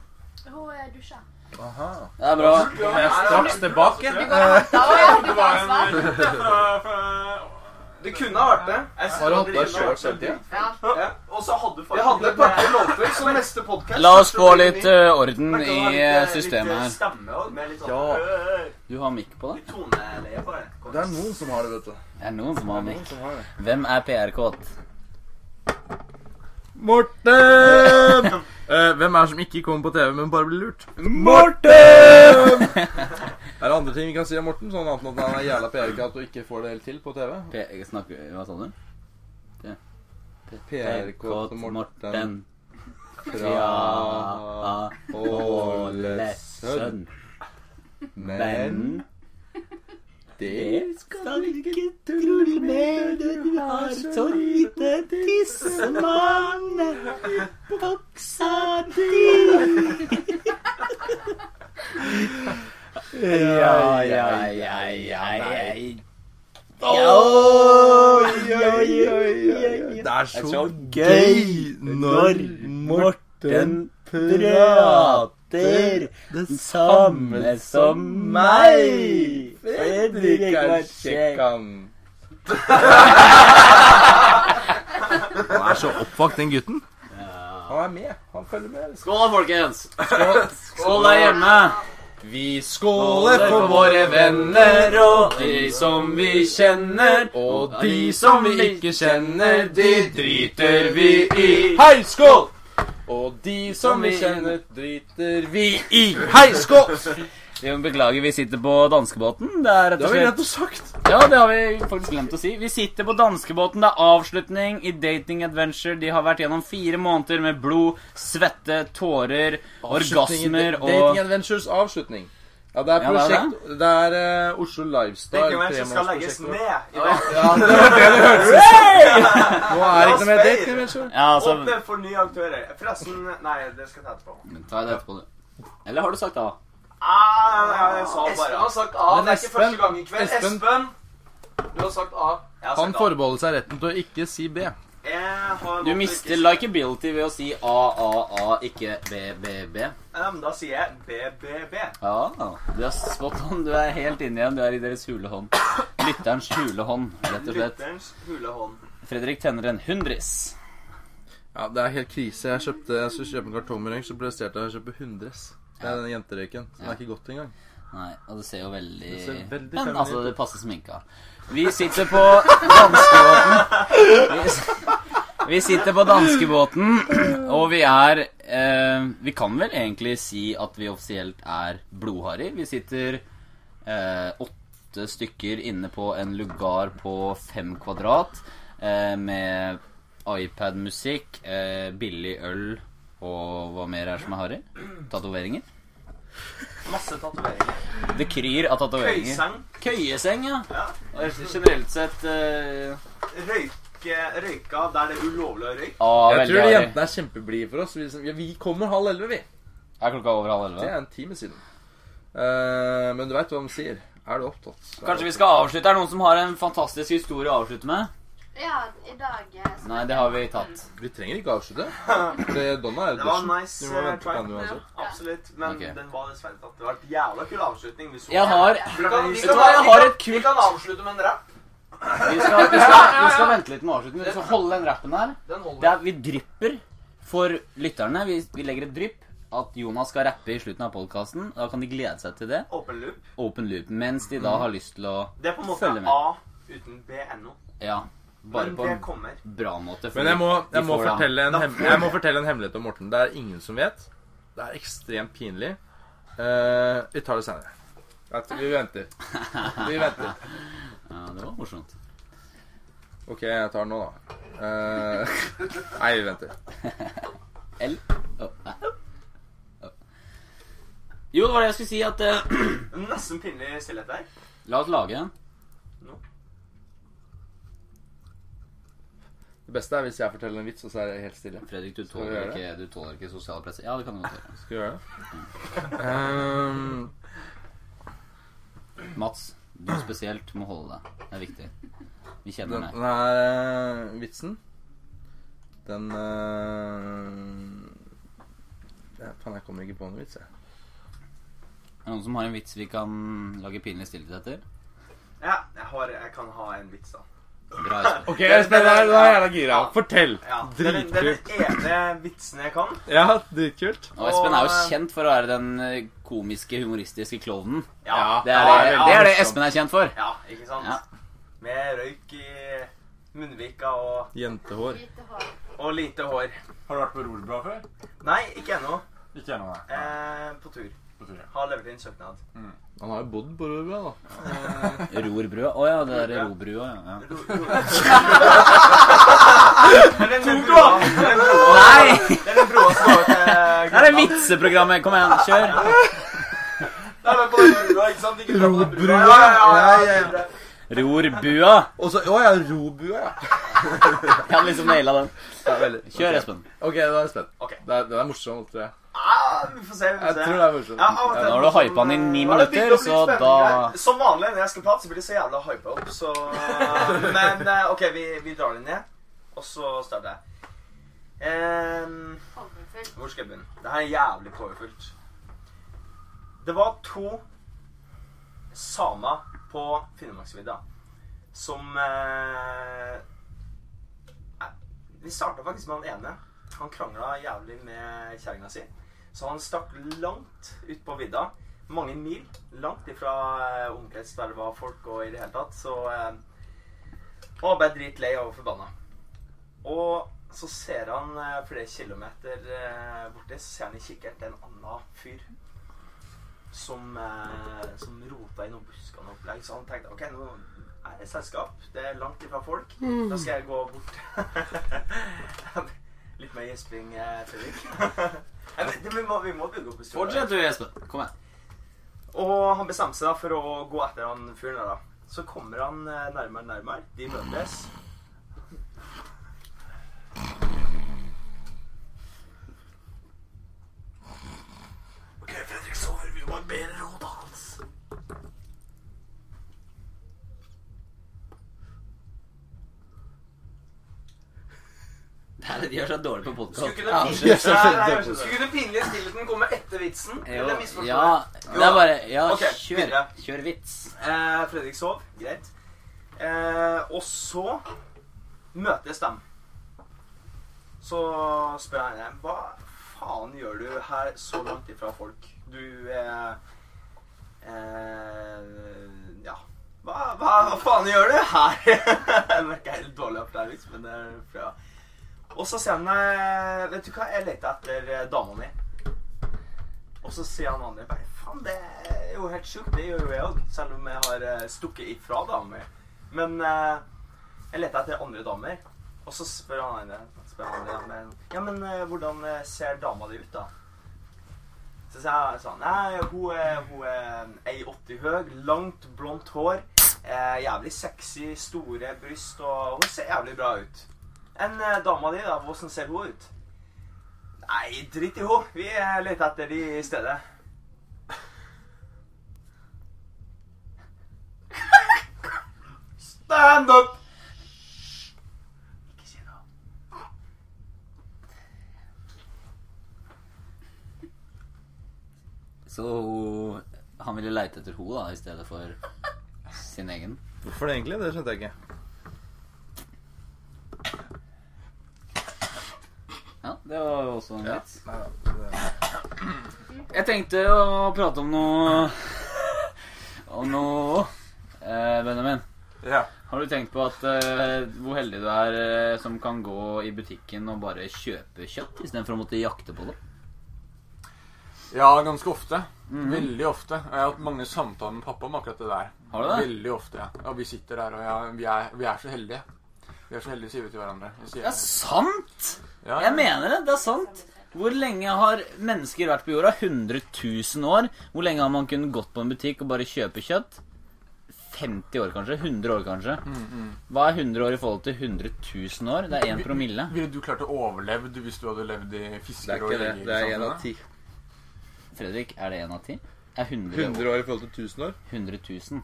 Speaker 9: Hun eh, dusja.
Speaker 1: Det er bra.
Speaker 4: Jeg er straks tilbake.
Speaker 8: Du går og henter, og jeg
Speaker 7: Det
Speaker 8: tar
Speaker 7: var
Speaker 8: ansvar.
Speaker 7: en rykte fra- fra-
Speaker 3: Det kunne ha vært det.
Speaker 4: Har du hatt deg sjøl hele tida?
Speaker 10: Og så hadde du
Speaker 3: Jeg hadde et par låter, så neste podkast
Speaker 1: La oss få litt eh, orden i eh, systemet her.
Speaker 10: stemme og med litt sånn
Speaker 4: Ja.
Speaker 10: øh,
Speaker 1: Du har mikk på deg?
Speaker 10: toneleie på det.
Speaker 4: Det er noen som har det, vet du.
Speaker 1: Det er noen som har mikk.
Speaker 4: Som har det.
Speaker 1: Hvem er PR-kåt?
Speaker 4: Morten! Eh, hvem er det som ikke kommer på TV, men bare blir lurt?
Speaker 1: Morten!
Speaker 4: Er det andre ting vi kan si om Morten? Sånn annet enn at han er jævla PR-katt og ikke får det helt til på TV?
Speaker 1: P snakker, hva sa du?
Speaker 4: PR-kåt
Speaker 1: PR-kåt
Speaker 4: Morten
Speaker 1: Morten
Speaker 4: fra
Speaker 1: fra
Speaker 4: Ålesund.
Speaker 1: Ålesund. Men
Speaker 4: det
Speaker 1: skal ikke tulle med det du har så lite tissemann boksa di. Ja, ja, ja, ja, ja. Oi, oi, oi, oi.
Speaker 4: Det er
Speaker 1: Det er
Speaker 4: så
Speaker 1: så
Speaker 4: gøy når Morten
Speaker 1: Morten
Speaker 4: prater det samme som meg. Fredrik er kjekkan. Han er så oppvakt, den gutten. Han er med. Han følger med.
Speaker 1: Skål da, folkens! Skål der hjemme!
Speaker 4: Vi skåler for våre
Speaker 1: venner og de som vi kjenner.
Speaker 4: Og de som vi ikke kjenner, de driter vi i.
Speaker 1: Hei, skål!
Speaker 4: Og de som vi kjenner, driter vi i. Hei, skål!
Speaker 1: Vi beklager, vi sitter på danskebåten. Det er rett og
Speaker 4: Det har vi
Speaker 1: slett
Speaker 4: nettopp sagt.
Speaker 1: Ja, det har vi faktisk glemt å si. Vi sitter på danskebåten. Det er avslutning i Dating Adventure. De har vært gjennom fire måneder med blod, svette, tårer, orgasmer og
Speaker 4: Dating Adventures avslutning. Ja, det
Speaker 1: Ja,
Speaker 4: er
Speaker 1: det er
Speaker 4: prosjekt Det er eh, Oslo Lifestyle.
Speaker 10: Tenk om jeg skal legges
Speaker 4: tremånedsprosjekt.
Speaker 10: ned i dag.
Speaker 4: Nå er det
Speaker 10: La
Speaker 4: ikke noe mer
Speaker 10: oss feire.
Speaker 4: Dating Adventure.
Speaker 1: Ja, altså
Speaker 10: Åpne for nye aktører. Forresten Nei, det skal jeg ta etterpå.
Speaker 1: Ta det etterpå, du. Eller har du sagt det? da?
Speaker 10: Ah, jeg, jeg sa
Speaker 3: Espen
Speaker 10: bare
Speaker 3: har sagt A.
Speaker 4: Men
Speaker 3: Det er ikke
Speaker 4: Espen-
Speaker 3: første gang i kveld.
Speaker 4: Espen-
Speaker 3: Espen, du har sagt A.
Speaker 10: Jeg har
Speaker 4: Han
Speaker 10: sagt alt.
Speaker 4: forbeholder seg retten til å ikke si B.
Speaker 10: Jeg har
Speaker 1: Du
Speaker 10: lov til
Speaker 1: mister
Speaker 10: ikke-
Speaker 1: likability ved å si AAA, ikke BBB.
Speaker 10: Ja, men Da sier jeg BBB.
Speaker 1: Ja, du er spot on. Du er helt inne igjen. Du er i deres hulehånd. Lytterens hulehånd, rett og slett.
Speaker 10: Lytterens hulehånd.
Speaker 1: Fredrik tenner en hundris.
Speaker 4: Ja, Det er helt krise. Jeg kjøpte, jeg skulle kjøpe en kartong med røyk, så presterte jeg å kjøpe hundres. Det er den jenterøyken. Så den er ikke godt engang.
Speaker 1: Nei, og det ser jo veldig,
Speaker 5: Det ser veldig
Speaker 1: Men
Speaker 5: feminint
Speaker 1: altså,
Speaker 5: ut.
Speaker 1: det passer sminka. Vi sitter på danskebåten. Vi, s- vi sitter på danskebåten, og vi er eh, Vi kan vel egentlig si at vi offisielt er blodharry. Vi sitter eh, åtte stykker inne på en lugar på fem kvadrat eh, med iPad-musikk, eh, billig øl og hva mer er det som er harry? Tatoveringer.
Speaker 3: Masse tatoveringer.
Speaker 1: Det kryr av tatoveringer.
Speaker 3: Køyseng.
Speaker 1: Køyeseng, ja.
Speaker 3: Ja.
Speaker 1: Og generelt sett eh,
Speaker 3: Røyke, røyka der det er ulovlig å røyke.
Speaker 1: ah,
Speaker 5: Jeg
Speaker 1: veldig
Speaker 5: tror
Speaker 1: harry.
Speaker 5: jentene er kjempeblide for oss. Vi, liksom- ja, vi kommer halv elleve, vi.
Speaker 1: Er klokka over halv
Speaker 5: Det
Speaker 1: elleve?
Speaker 5: er en time siden. Eh, men du veit hva de sier. Er du opptatt?
Speaker 1: Kanskje vi skal avslutte? Er det noen som har en fantastisk historie å avslutte med?
Speaker 9: Ja, i dag eh, så-
Speaker 1: Nei, det har vi tatt.
Speaker 5: Vi trenger ikke avslutte. Det, Donna er jo
Speaker 3: Det var
Speaker 5: dusjen.
Speaker 3: en nice
Speaker 5: Vi må
Speaker 3: eh,
Speaker 5: vente på
Speaker 3: try.
Speaker 5: henne uansett.
Speaker 3: Absolutt. Men
Speaker 1: Ok.
Speaker 3: den var dessverre tatt. Det var et jævla kul avslutning. Vi så
Speaker 1: Jeg har
Speaker 11: Vi kan, vi
Speaker 1: Vet
Speaker 11: kan,
Speaker 1: du hva, jeg
Speaker 11: vi
Speaker 1: har
Speaker 11: kan,
Speaker 1: et
Speaker 11: vi kan avslutte med en rap.
Speaker 1: Vi skal, vi skal, vi skal vente litt med avslutningen. Vi skal holde den rappen her.
Speaker 11: Den
Speaker 1: Det
Speaker 11: holder.
Speaker 1: er, vi drypper for lytterne. Vi, vi legger et drypp. At Jonas skal rappe i slutten av podkasten. Da kan de glede seg til det.
Speaker 3: Open loop.
Speaker 1: Open loop. Mens de da har lyst til å
Speaker 3: Det er på en måte
Speaker 1: Følg med.
Speaker 3: A uten B ennå.
Speaker 1: Ja. Bare
Speaker 3: Men
Speaker 1: på
Speaker 3: det
Speaker 1: en
Speaker 3: kommer.
Speaker 1: bra måte. fordi
Speaker 4: Men jeg må,
Speaker 1: de
Speaker 4: jeg må,
Speaker 1: får da-
Speaker 4: fortelle, en
Speaker 3: Da
Speaker 4: hem,
Speaker 3: får
Speaker 4: jeg
Speaker 3: jeg.
Speaker 4: må fortelle en hemmelighet om Morten. Det er ingen som vet. Det er ekstremt pinlig. Eh, vi tar det senere. Vet du, Vi venter. Vi venter.
Speaker 1: Ja, det var morsomt.
Speaker 4: Ok, jeg tar den nå, da. Eh, nei, vi venter.
Speaker 1: L Å, nei. Å. Jo, det var det jeg skulle si, at eh,
Speaker 3: Nesten pinlig stillhet der.
Speaker 1: La oss lage en.
Speaker 4: Det beste er hvis jeg forteller en vits, og så er det helt stille.
Speaker 1: Fredrik, du
Speaker 4: vi
Speaker 1: tåler
Speaker 4: gjøre
Speaker 1: ikke, du tåler ikke sosiale presser. Ja, det kan du godt gjøre.
Speaker 4: Skal vi gjøre det? Ehm,
Speaker 1: Mats, du spesielt må holde deg. Det er viktig. Vi kjenner
Speaker 4: den,
Speaker 1: deg.
Speaker 4: den her eh, vitsen Den eh, ja, Faen, jeg kommer ikke på noen vits, jeg.
Speaker 1: Er det noen som har en vits vi kan lage pinlig stillhet etter?
Speaker 3: Ja, jeg, har, jeg kan ha en vits, da.
Speaker 1: Bra, Espen.
Speaker 4: Ok, Espen, da er jeg jævla gira. Fortell.
Speaker 3: Ja, det er den- det er den ene vitsen jeg kan.
Speaker 4: Ja, dritkult.
Speaker 1: Og Espen er jo kjent for å være den eh, komiske, humoristiske klovnen.
Speaker 3: Ja,
Speaker 1: Det er
Speaker 3: ja,
Speaker 1: det,
Speaker 3: ja,
Speaker 1: det, er det Espen er kjent for.
Speaker 3: Ja, ikke sant?
Speaker 1: Ja.
Speaker 3: Med røyk i munnvika og,
Speaker 4: Jentehår.
Speaker 9: Lite hår.
Speaker 3: og lite hår.
Speaker 6: Har du vært på Rorbua før?
Speaker 3: Nei, ikke ennå.
Speaker 6: Ikke ennå, nei.
Speaker 3: Eh, på tur.
Speaker 6: På tur, ja.
Speaker 3: Har levert inn søknad.
Speaker 4: Han har jo bodd på Rødbø, da.
Speaker 1: Rorbrød. Å ja, det er robrua. Ja.
Speaker 3: Ro- ro- Det er den broa det er den broa-
Speaker 1: Nei!
Speaker 3: det er den broa som eh, går til
Speaker 1: Det er det vitseprogrammet! Kom igjen, kjør.
Speaker 3: Nei, men på den broa, ikke sant? Ikke sant? Den broa,
Speaker 4: Robrua,
Speaker 3: Ja, ja,
Speaker 4: ja,
Speaker 3: ja. ja.
Speaker 1: Rorbua.
Speaker 4: Og så Å ja, Robua, ja.
Speaker 1: Jeg hadde liksom naila den.
Speaker 4: ja veldig.
Speaker 1: Kjør, Espen.
Speaker 4: Ok, da er jeg spent.
Speaker 3: Ok.
Speaker 4: Det er, det er morsomt, tror jeg.
Speaker 3: Ah, vi får se. vi får
Speaker 4: Jeg
Speaker 3: se.
Speaker 4: tror det er morsomt.
Speaker 3: Ja, av og til
Speaker 1: Ja, nå har du
Speaker 3: er det
Speaker 1: hypet den i
Speaker 3: sånn,
Speaker 1: ni
Speaker 3: eh,
Speaker 1: minutter,
Speaker 3: det bygger opp litt
Speaker 1: så
Speaker 3: spenning
Speaker 1: da-
Speaker 3: her. Som vanlig når jeg skal prate, så blir det så jævla hypa opp, så Men eh, OK, vi, vi drar den ned, og så starter jeg. Em,
Speaker 9: Overfull.
Speaker 3: hvor skal jeg begynne? Det her er jævlig powerfullt. Det var to samer på Finnmarksvidda som eh, eh, Vi starta faktisk med han ene. Han krangla jævlig med kjerringa si. Så han stakk langt ut på vidda. Mange mil. Langt ifra eh, omkrets der det var folk og i det hele tatt. Så eh, Han var bare dritlei og forbanna. Og så ser han eh, flere kilometer eh, borti, så ser han i kikkert en annen fyr som, eh, som rota i noen busker og noe opplegg. Så han tenkte ok, nå er det selskap. Det er langt ifra folk. Da skal jeg gå bort. Litt mer gjesping, eh, Fredrik. Nei, men det- vi, må, vi må bygge opp historien.
Speaker 1: Fortsett du, Espen. Kom igjen.
Speaker 3: Og han bestemte seg da for å gå etter han fyren der, da. Så kommer han eh, nærmere og nærmere. De møtes. OK, Fredrik sover. Vi må bære rotet hans.
Speaker 1: Det er, de er så dårlige på
Speaker 11: Skulle
Speaker 1: podkast.
Speaker 11: ikke den
Speaker 4: jeg
Speaker 11: pinlige-
Speaker 4: skjønner
Speaker 11: Nei,
Speaker 4: det.
Speaker 11: nei, jeg skjønner det. Skulle ikke den pinlige stillheten komme etter vitsen? Eller misforstår
Speaker 1: Ja,
Speaker 11: jeg?
Speaker 1: det er bare Ja,
Speaker 3: Ok,
Speaker 1: kjør.
Speaker 3: videre.
Speaker 1: Kjør vits.
Speaker 3: Eh, Fredrik sov, greit. Eh, og så møtes de. Så spør jeg henne Hva faen gjør du her så langt ifra folk? Du eh, eh, Ja. Hva, hva, hva faen gjør du her? jeg merker helt dårlig opp der, liksom, men det er bra. Og så sier han eh, Vet du hva, jeg leter etter eh, dama mi. Og så sier han andre bare Faen, det er jo helt sjukt. Det gjør jo jeg òg. Selv om jeg har eh, stukket ifra dama mi. Men eh, jeg leter etter andre damer. Og så spør han andre, spør han andre damen, Ja, men eh, hvordan eh, ser dama di ut, da? Så sa jeg sånn Nei, hun er, hun er 1,80 høy, langt, blondt hår. Eh, jævlig sexy, store bryst, og hun ser jævlig bra ut. Enn eh, dama di, da? Hvordan ser hun ut? Nei, drit i henne. Vi eh, leter etter de i stedet. Stand up! Ikke si noe.
Speaker 1: Så hun- han ville leite etter henne da, i stedet for sin egen.
Speaker 4: Hvorfor det egentlig? Det skjønte jeg ikke.
Speaker 1: Ja, det var jo også en vits.
Speaker 5: Nei, det-
Speaker 1: Jeg tenkte å prate om noe Om noe eh, Benjamin.
Speaker 5: Ja.
Speaker 1: Har du tenkt på at eh, hvor heldig du er eh, som kan gå i butikken og bare kjøpe kjøtt istedenfor å måtte jakte på det?
Speaker 7: Ja, ganske ofte.
Speaker 6: Mhm.
Speaker 7: Veldig ofte. Og Jeg har hatt mange samtaler med pappa om akkurat det der.
Speaker 1: Har du det?
Speaker 7: Veldig ofte, ja. Og vi sitter der, og ja, vi, er, vi er så heldige. Vi er så heldige, sier vi til hverandre. Vi sier-
Speaker 1: Det er sant!
Speaker 7: Ja, ja.
Speaker 1: Jeg mener det. Det er sant. Hvor lenge har mennesker vært på jorda? 100 000 år. Hvor lenge har man kunnet gått på en butikk og bare kjøpe kjøtt? 50 år, kanskje? 100 år, kanskje? Hva er 100 år i forhold til 100 000 år? Det er 1 promille.
Speaker 7: Ville du klart å overleve du, hvis du hadde levd i
Speaker 4: Det er
Speaker 7: fisker og
Speaker 4: ikke det. Det er én
Speaker 7: jegersamfunnet?
Speaker 4: av ti.
Speaker 1: Fredrik, er det 1 av 10? Er 100,
Speaker 4: 100 år i forhold til 1000 år?
Speaker 1: 100 000.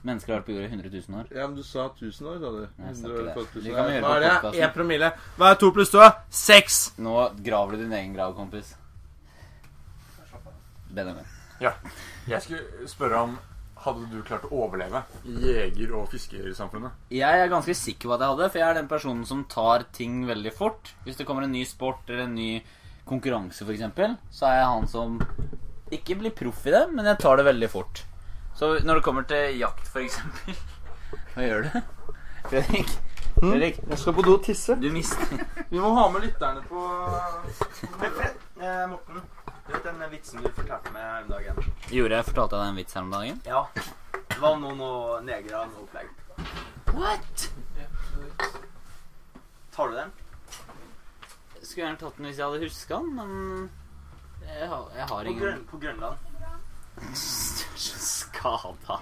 Speaker 1: Mennesker har vært på jorda i 100 000 år.
Speaker 4: Ja, men du sa 1000 år, sa du.
Speaker 1: Nei, jeg sa ikke
Speaker 4: 100 år i
Speaker 1: det.
Speaker 4: forhold til
Speaker 1: Vi
Speaker 4: 1000
Speaker 1: kan
Speaker 4: år.
Speaker 1: høre
Speaker 4: Hva
Speaker 1: på
Speaker 4: er det?
Speaker 1: podcasten.
Speaker 4: Én promille. Hva er to pluss to? Seks!
Speaker 1: Nå graver du din egen grav, kompis. Benjamin.
Speaker 7: Jeg skulle spørre om hadde du klart å overleve i jeger- og fiskersamfunnet?
Speaker 1: Jeg er ganske sikker på at jeg hadde, for jeg er den personen som tar ting veldig fort. Hvis det kommer en ny sport eller en ny konkurranse, f.eks., så er jeg han som ikke blir proff i det, men jeg tar det veldig fort. Så når det kommer til jakt, f.eks. Hva gjør du? Fredrik? Fredrik,
Speaker 4: Hmm? Jeg skal på do og tisse.
Speaker 1: du mister
Speaker 10: Vi må ha med lytterne på
Speaker 3: Men Fred, eh, Morten, du vet den vitsen du fortalte meg her om dagen?
Speaker 1: Gjorde jeg fortalte jeg deg en vits her om dagen?
Speaker 3: Ja. Det var om noen og negere og noe opplegg.
Speaker 1: What?
Speaker 3: Tar du den?
Speaker 1: Skulle gjerne tatt den hvis jeg hadde huska den, men jeg har, jeg har
Speaker 3: På,
Speaker 1: ingen
Speaker 3: grøn, på Grønland.
Speaker 1: Så skada.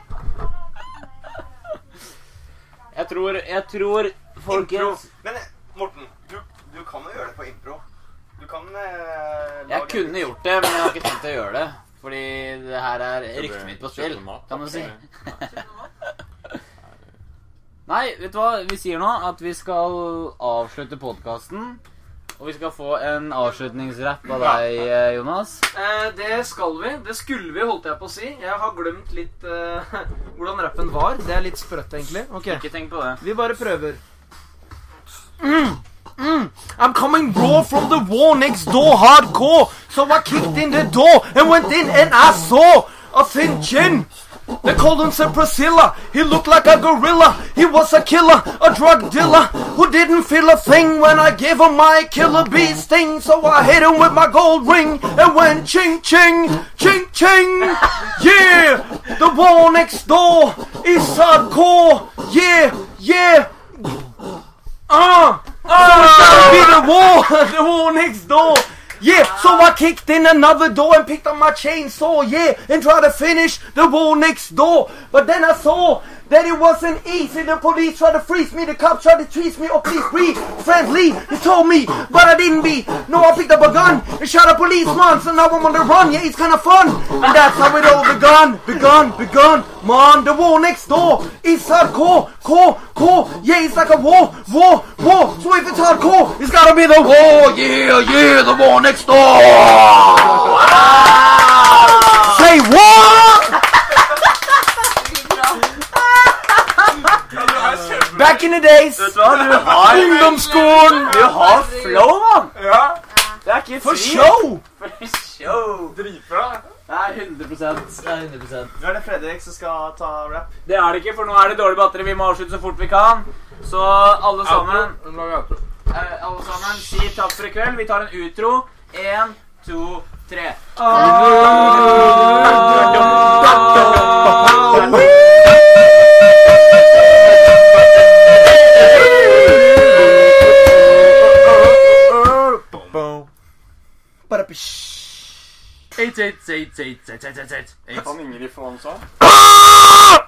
Speaker 1: Jeg tror Jeg tror Folkens
Speaker 3: Men eh, Morten, du, du kan jo gjøre det på impro. Du kan eh, lage-
Speaker 1: Jeg kunne gjort det, men jeg har ikke tenkt å gjøre det. Fordi det her er ryktet mitt på spill,
Speaker 7: Kjøper mat,
Speaker 1: kan du si.
Speaker 8: Skjønner du hva?
Speaker 1: Nei, vet du hva? Vi sier nå at vi skal avslutte podkasten. Og vi skal få en avslutningsrapp av deg, eh, Jonas.
Speaker 3: Eh, det skal vi. Det skulle vi, holdt jeg på å si. Jeg har glemt litt eh, hvordan rappen var. Det er litt sprøtt, egentlig. Ok,
Speaker 1: Ikke tenk på det.
Speaker 3: Vi bare prøver. I'm coming bro from the war next door hardcore So I kicked in the door and went in and I saw a thin chin They called him Sir Priscilla He looked like a gorilla He was a killer, a drug dealer Who didn't feel a thing when I gave him my killer bee sting So I hit him with my gold ring And went ching ching, ching ching Yeah, the war next door is hardcore Yeah, yeah Ah! Ah! Be the war, the war next door. Yeah, so I kicked in another door and picked up my chainsaw, yeah, and tried to finish the wall next door. But then I saw that it wasn't easy. The police tried to freeze me, the cops tried to chase me, oh please be friendly, they told me, but I didn't be. No, I picked up a gun and shot a policeman, so now I'm on the run, yeah, it's kinda fun. And that's how it all begun, begun, begun. Man, the wall next door is hardcore, core, core, yeah, it's like a war, war, war. So if it's hardcore, it's gotta be the war, yeah, yeah, the war next door.
Speaker 4: Ah!
Speaker 3: Say war! Back in the days. Ungdomsskolen. Du har flow, mann!
Speaker 7: Ja,
Speaker 3: For show!
Speaker 7: dritbra!
Speaker 3: Nei,
Speaker 1: er 100 Det er 100
Speaker 3: Nå er det Fredrik som skal ta rap.
Speaker 1: Det er det ikke, for nå er det dårlig batteri. Vi må avslutte så fort vi kan. Så alle sammen eh, Alle sammen, si takk for i kveld. Vi tar en utro. Én, to, tre.
Speaker 5: Eight, eight, eight, eight, eight, eight, eight, eight.
Speaker 6: Kan Ingrid få en sånn?
Speaker 1: Nei,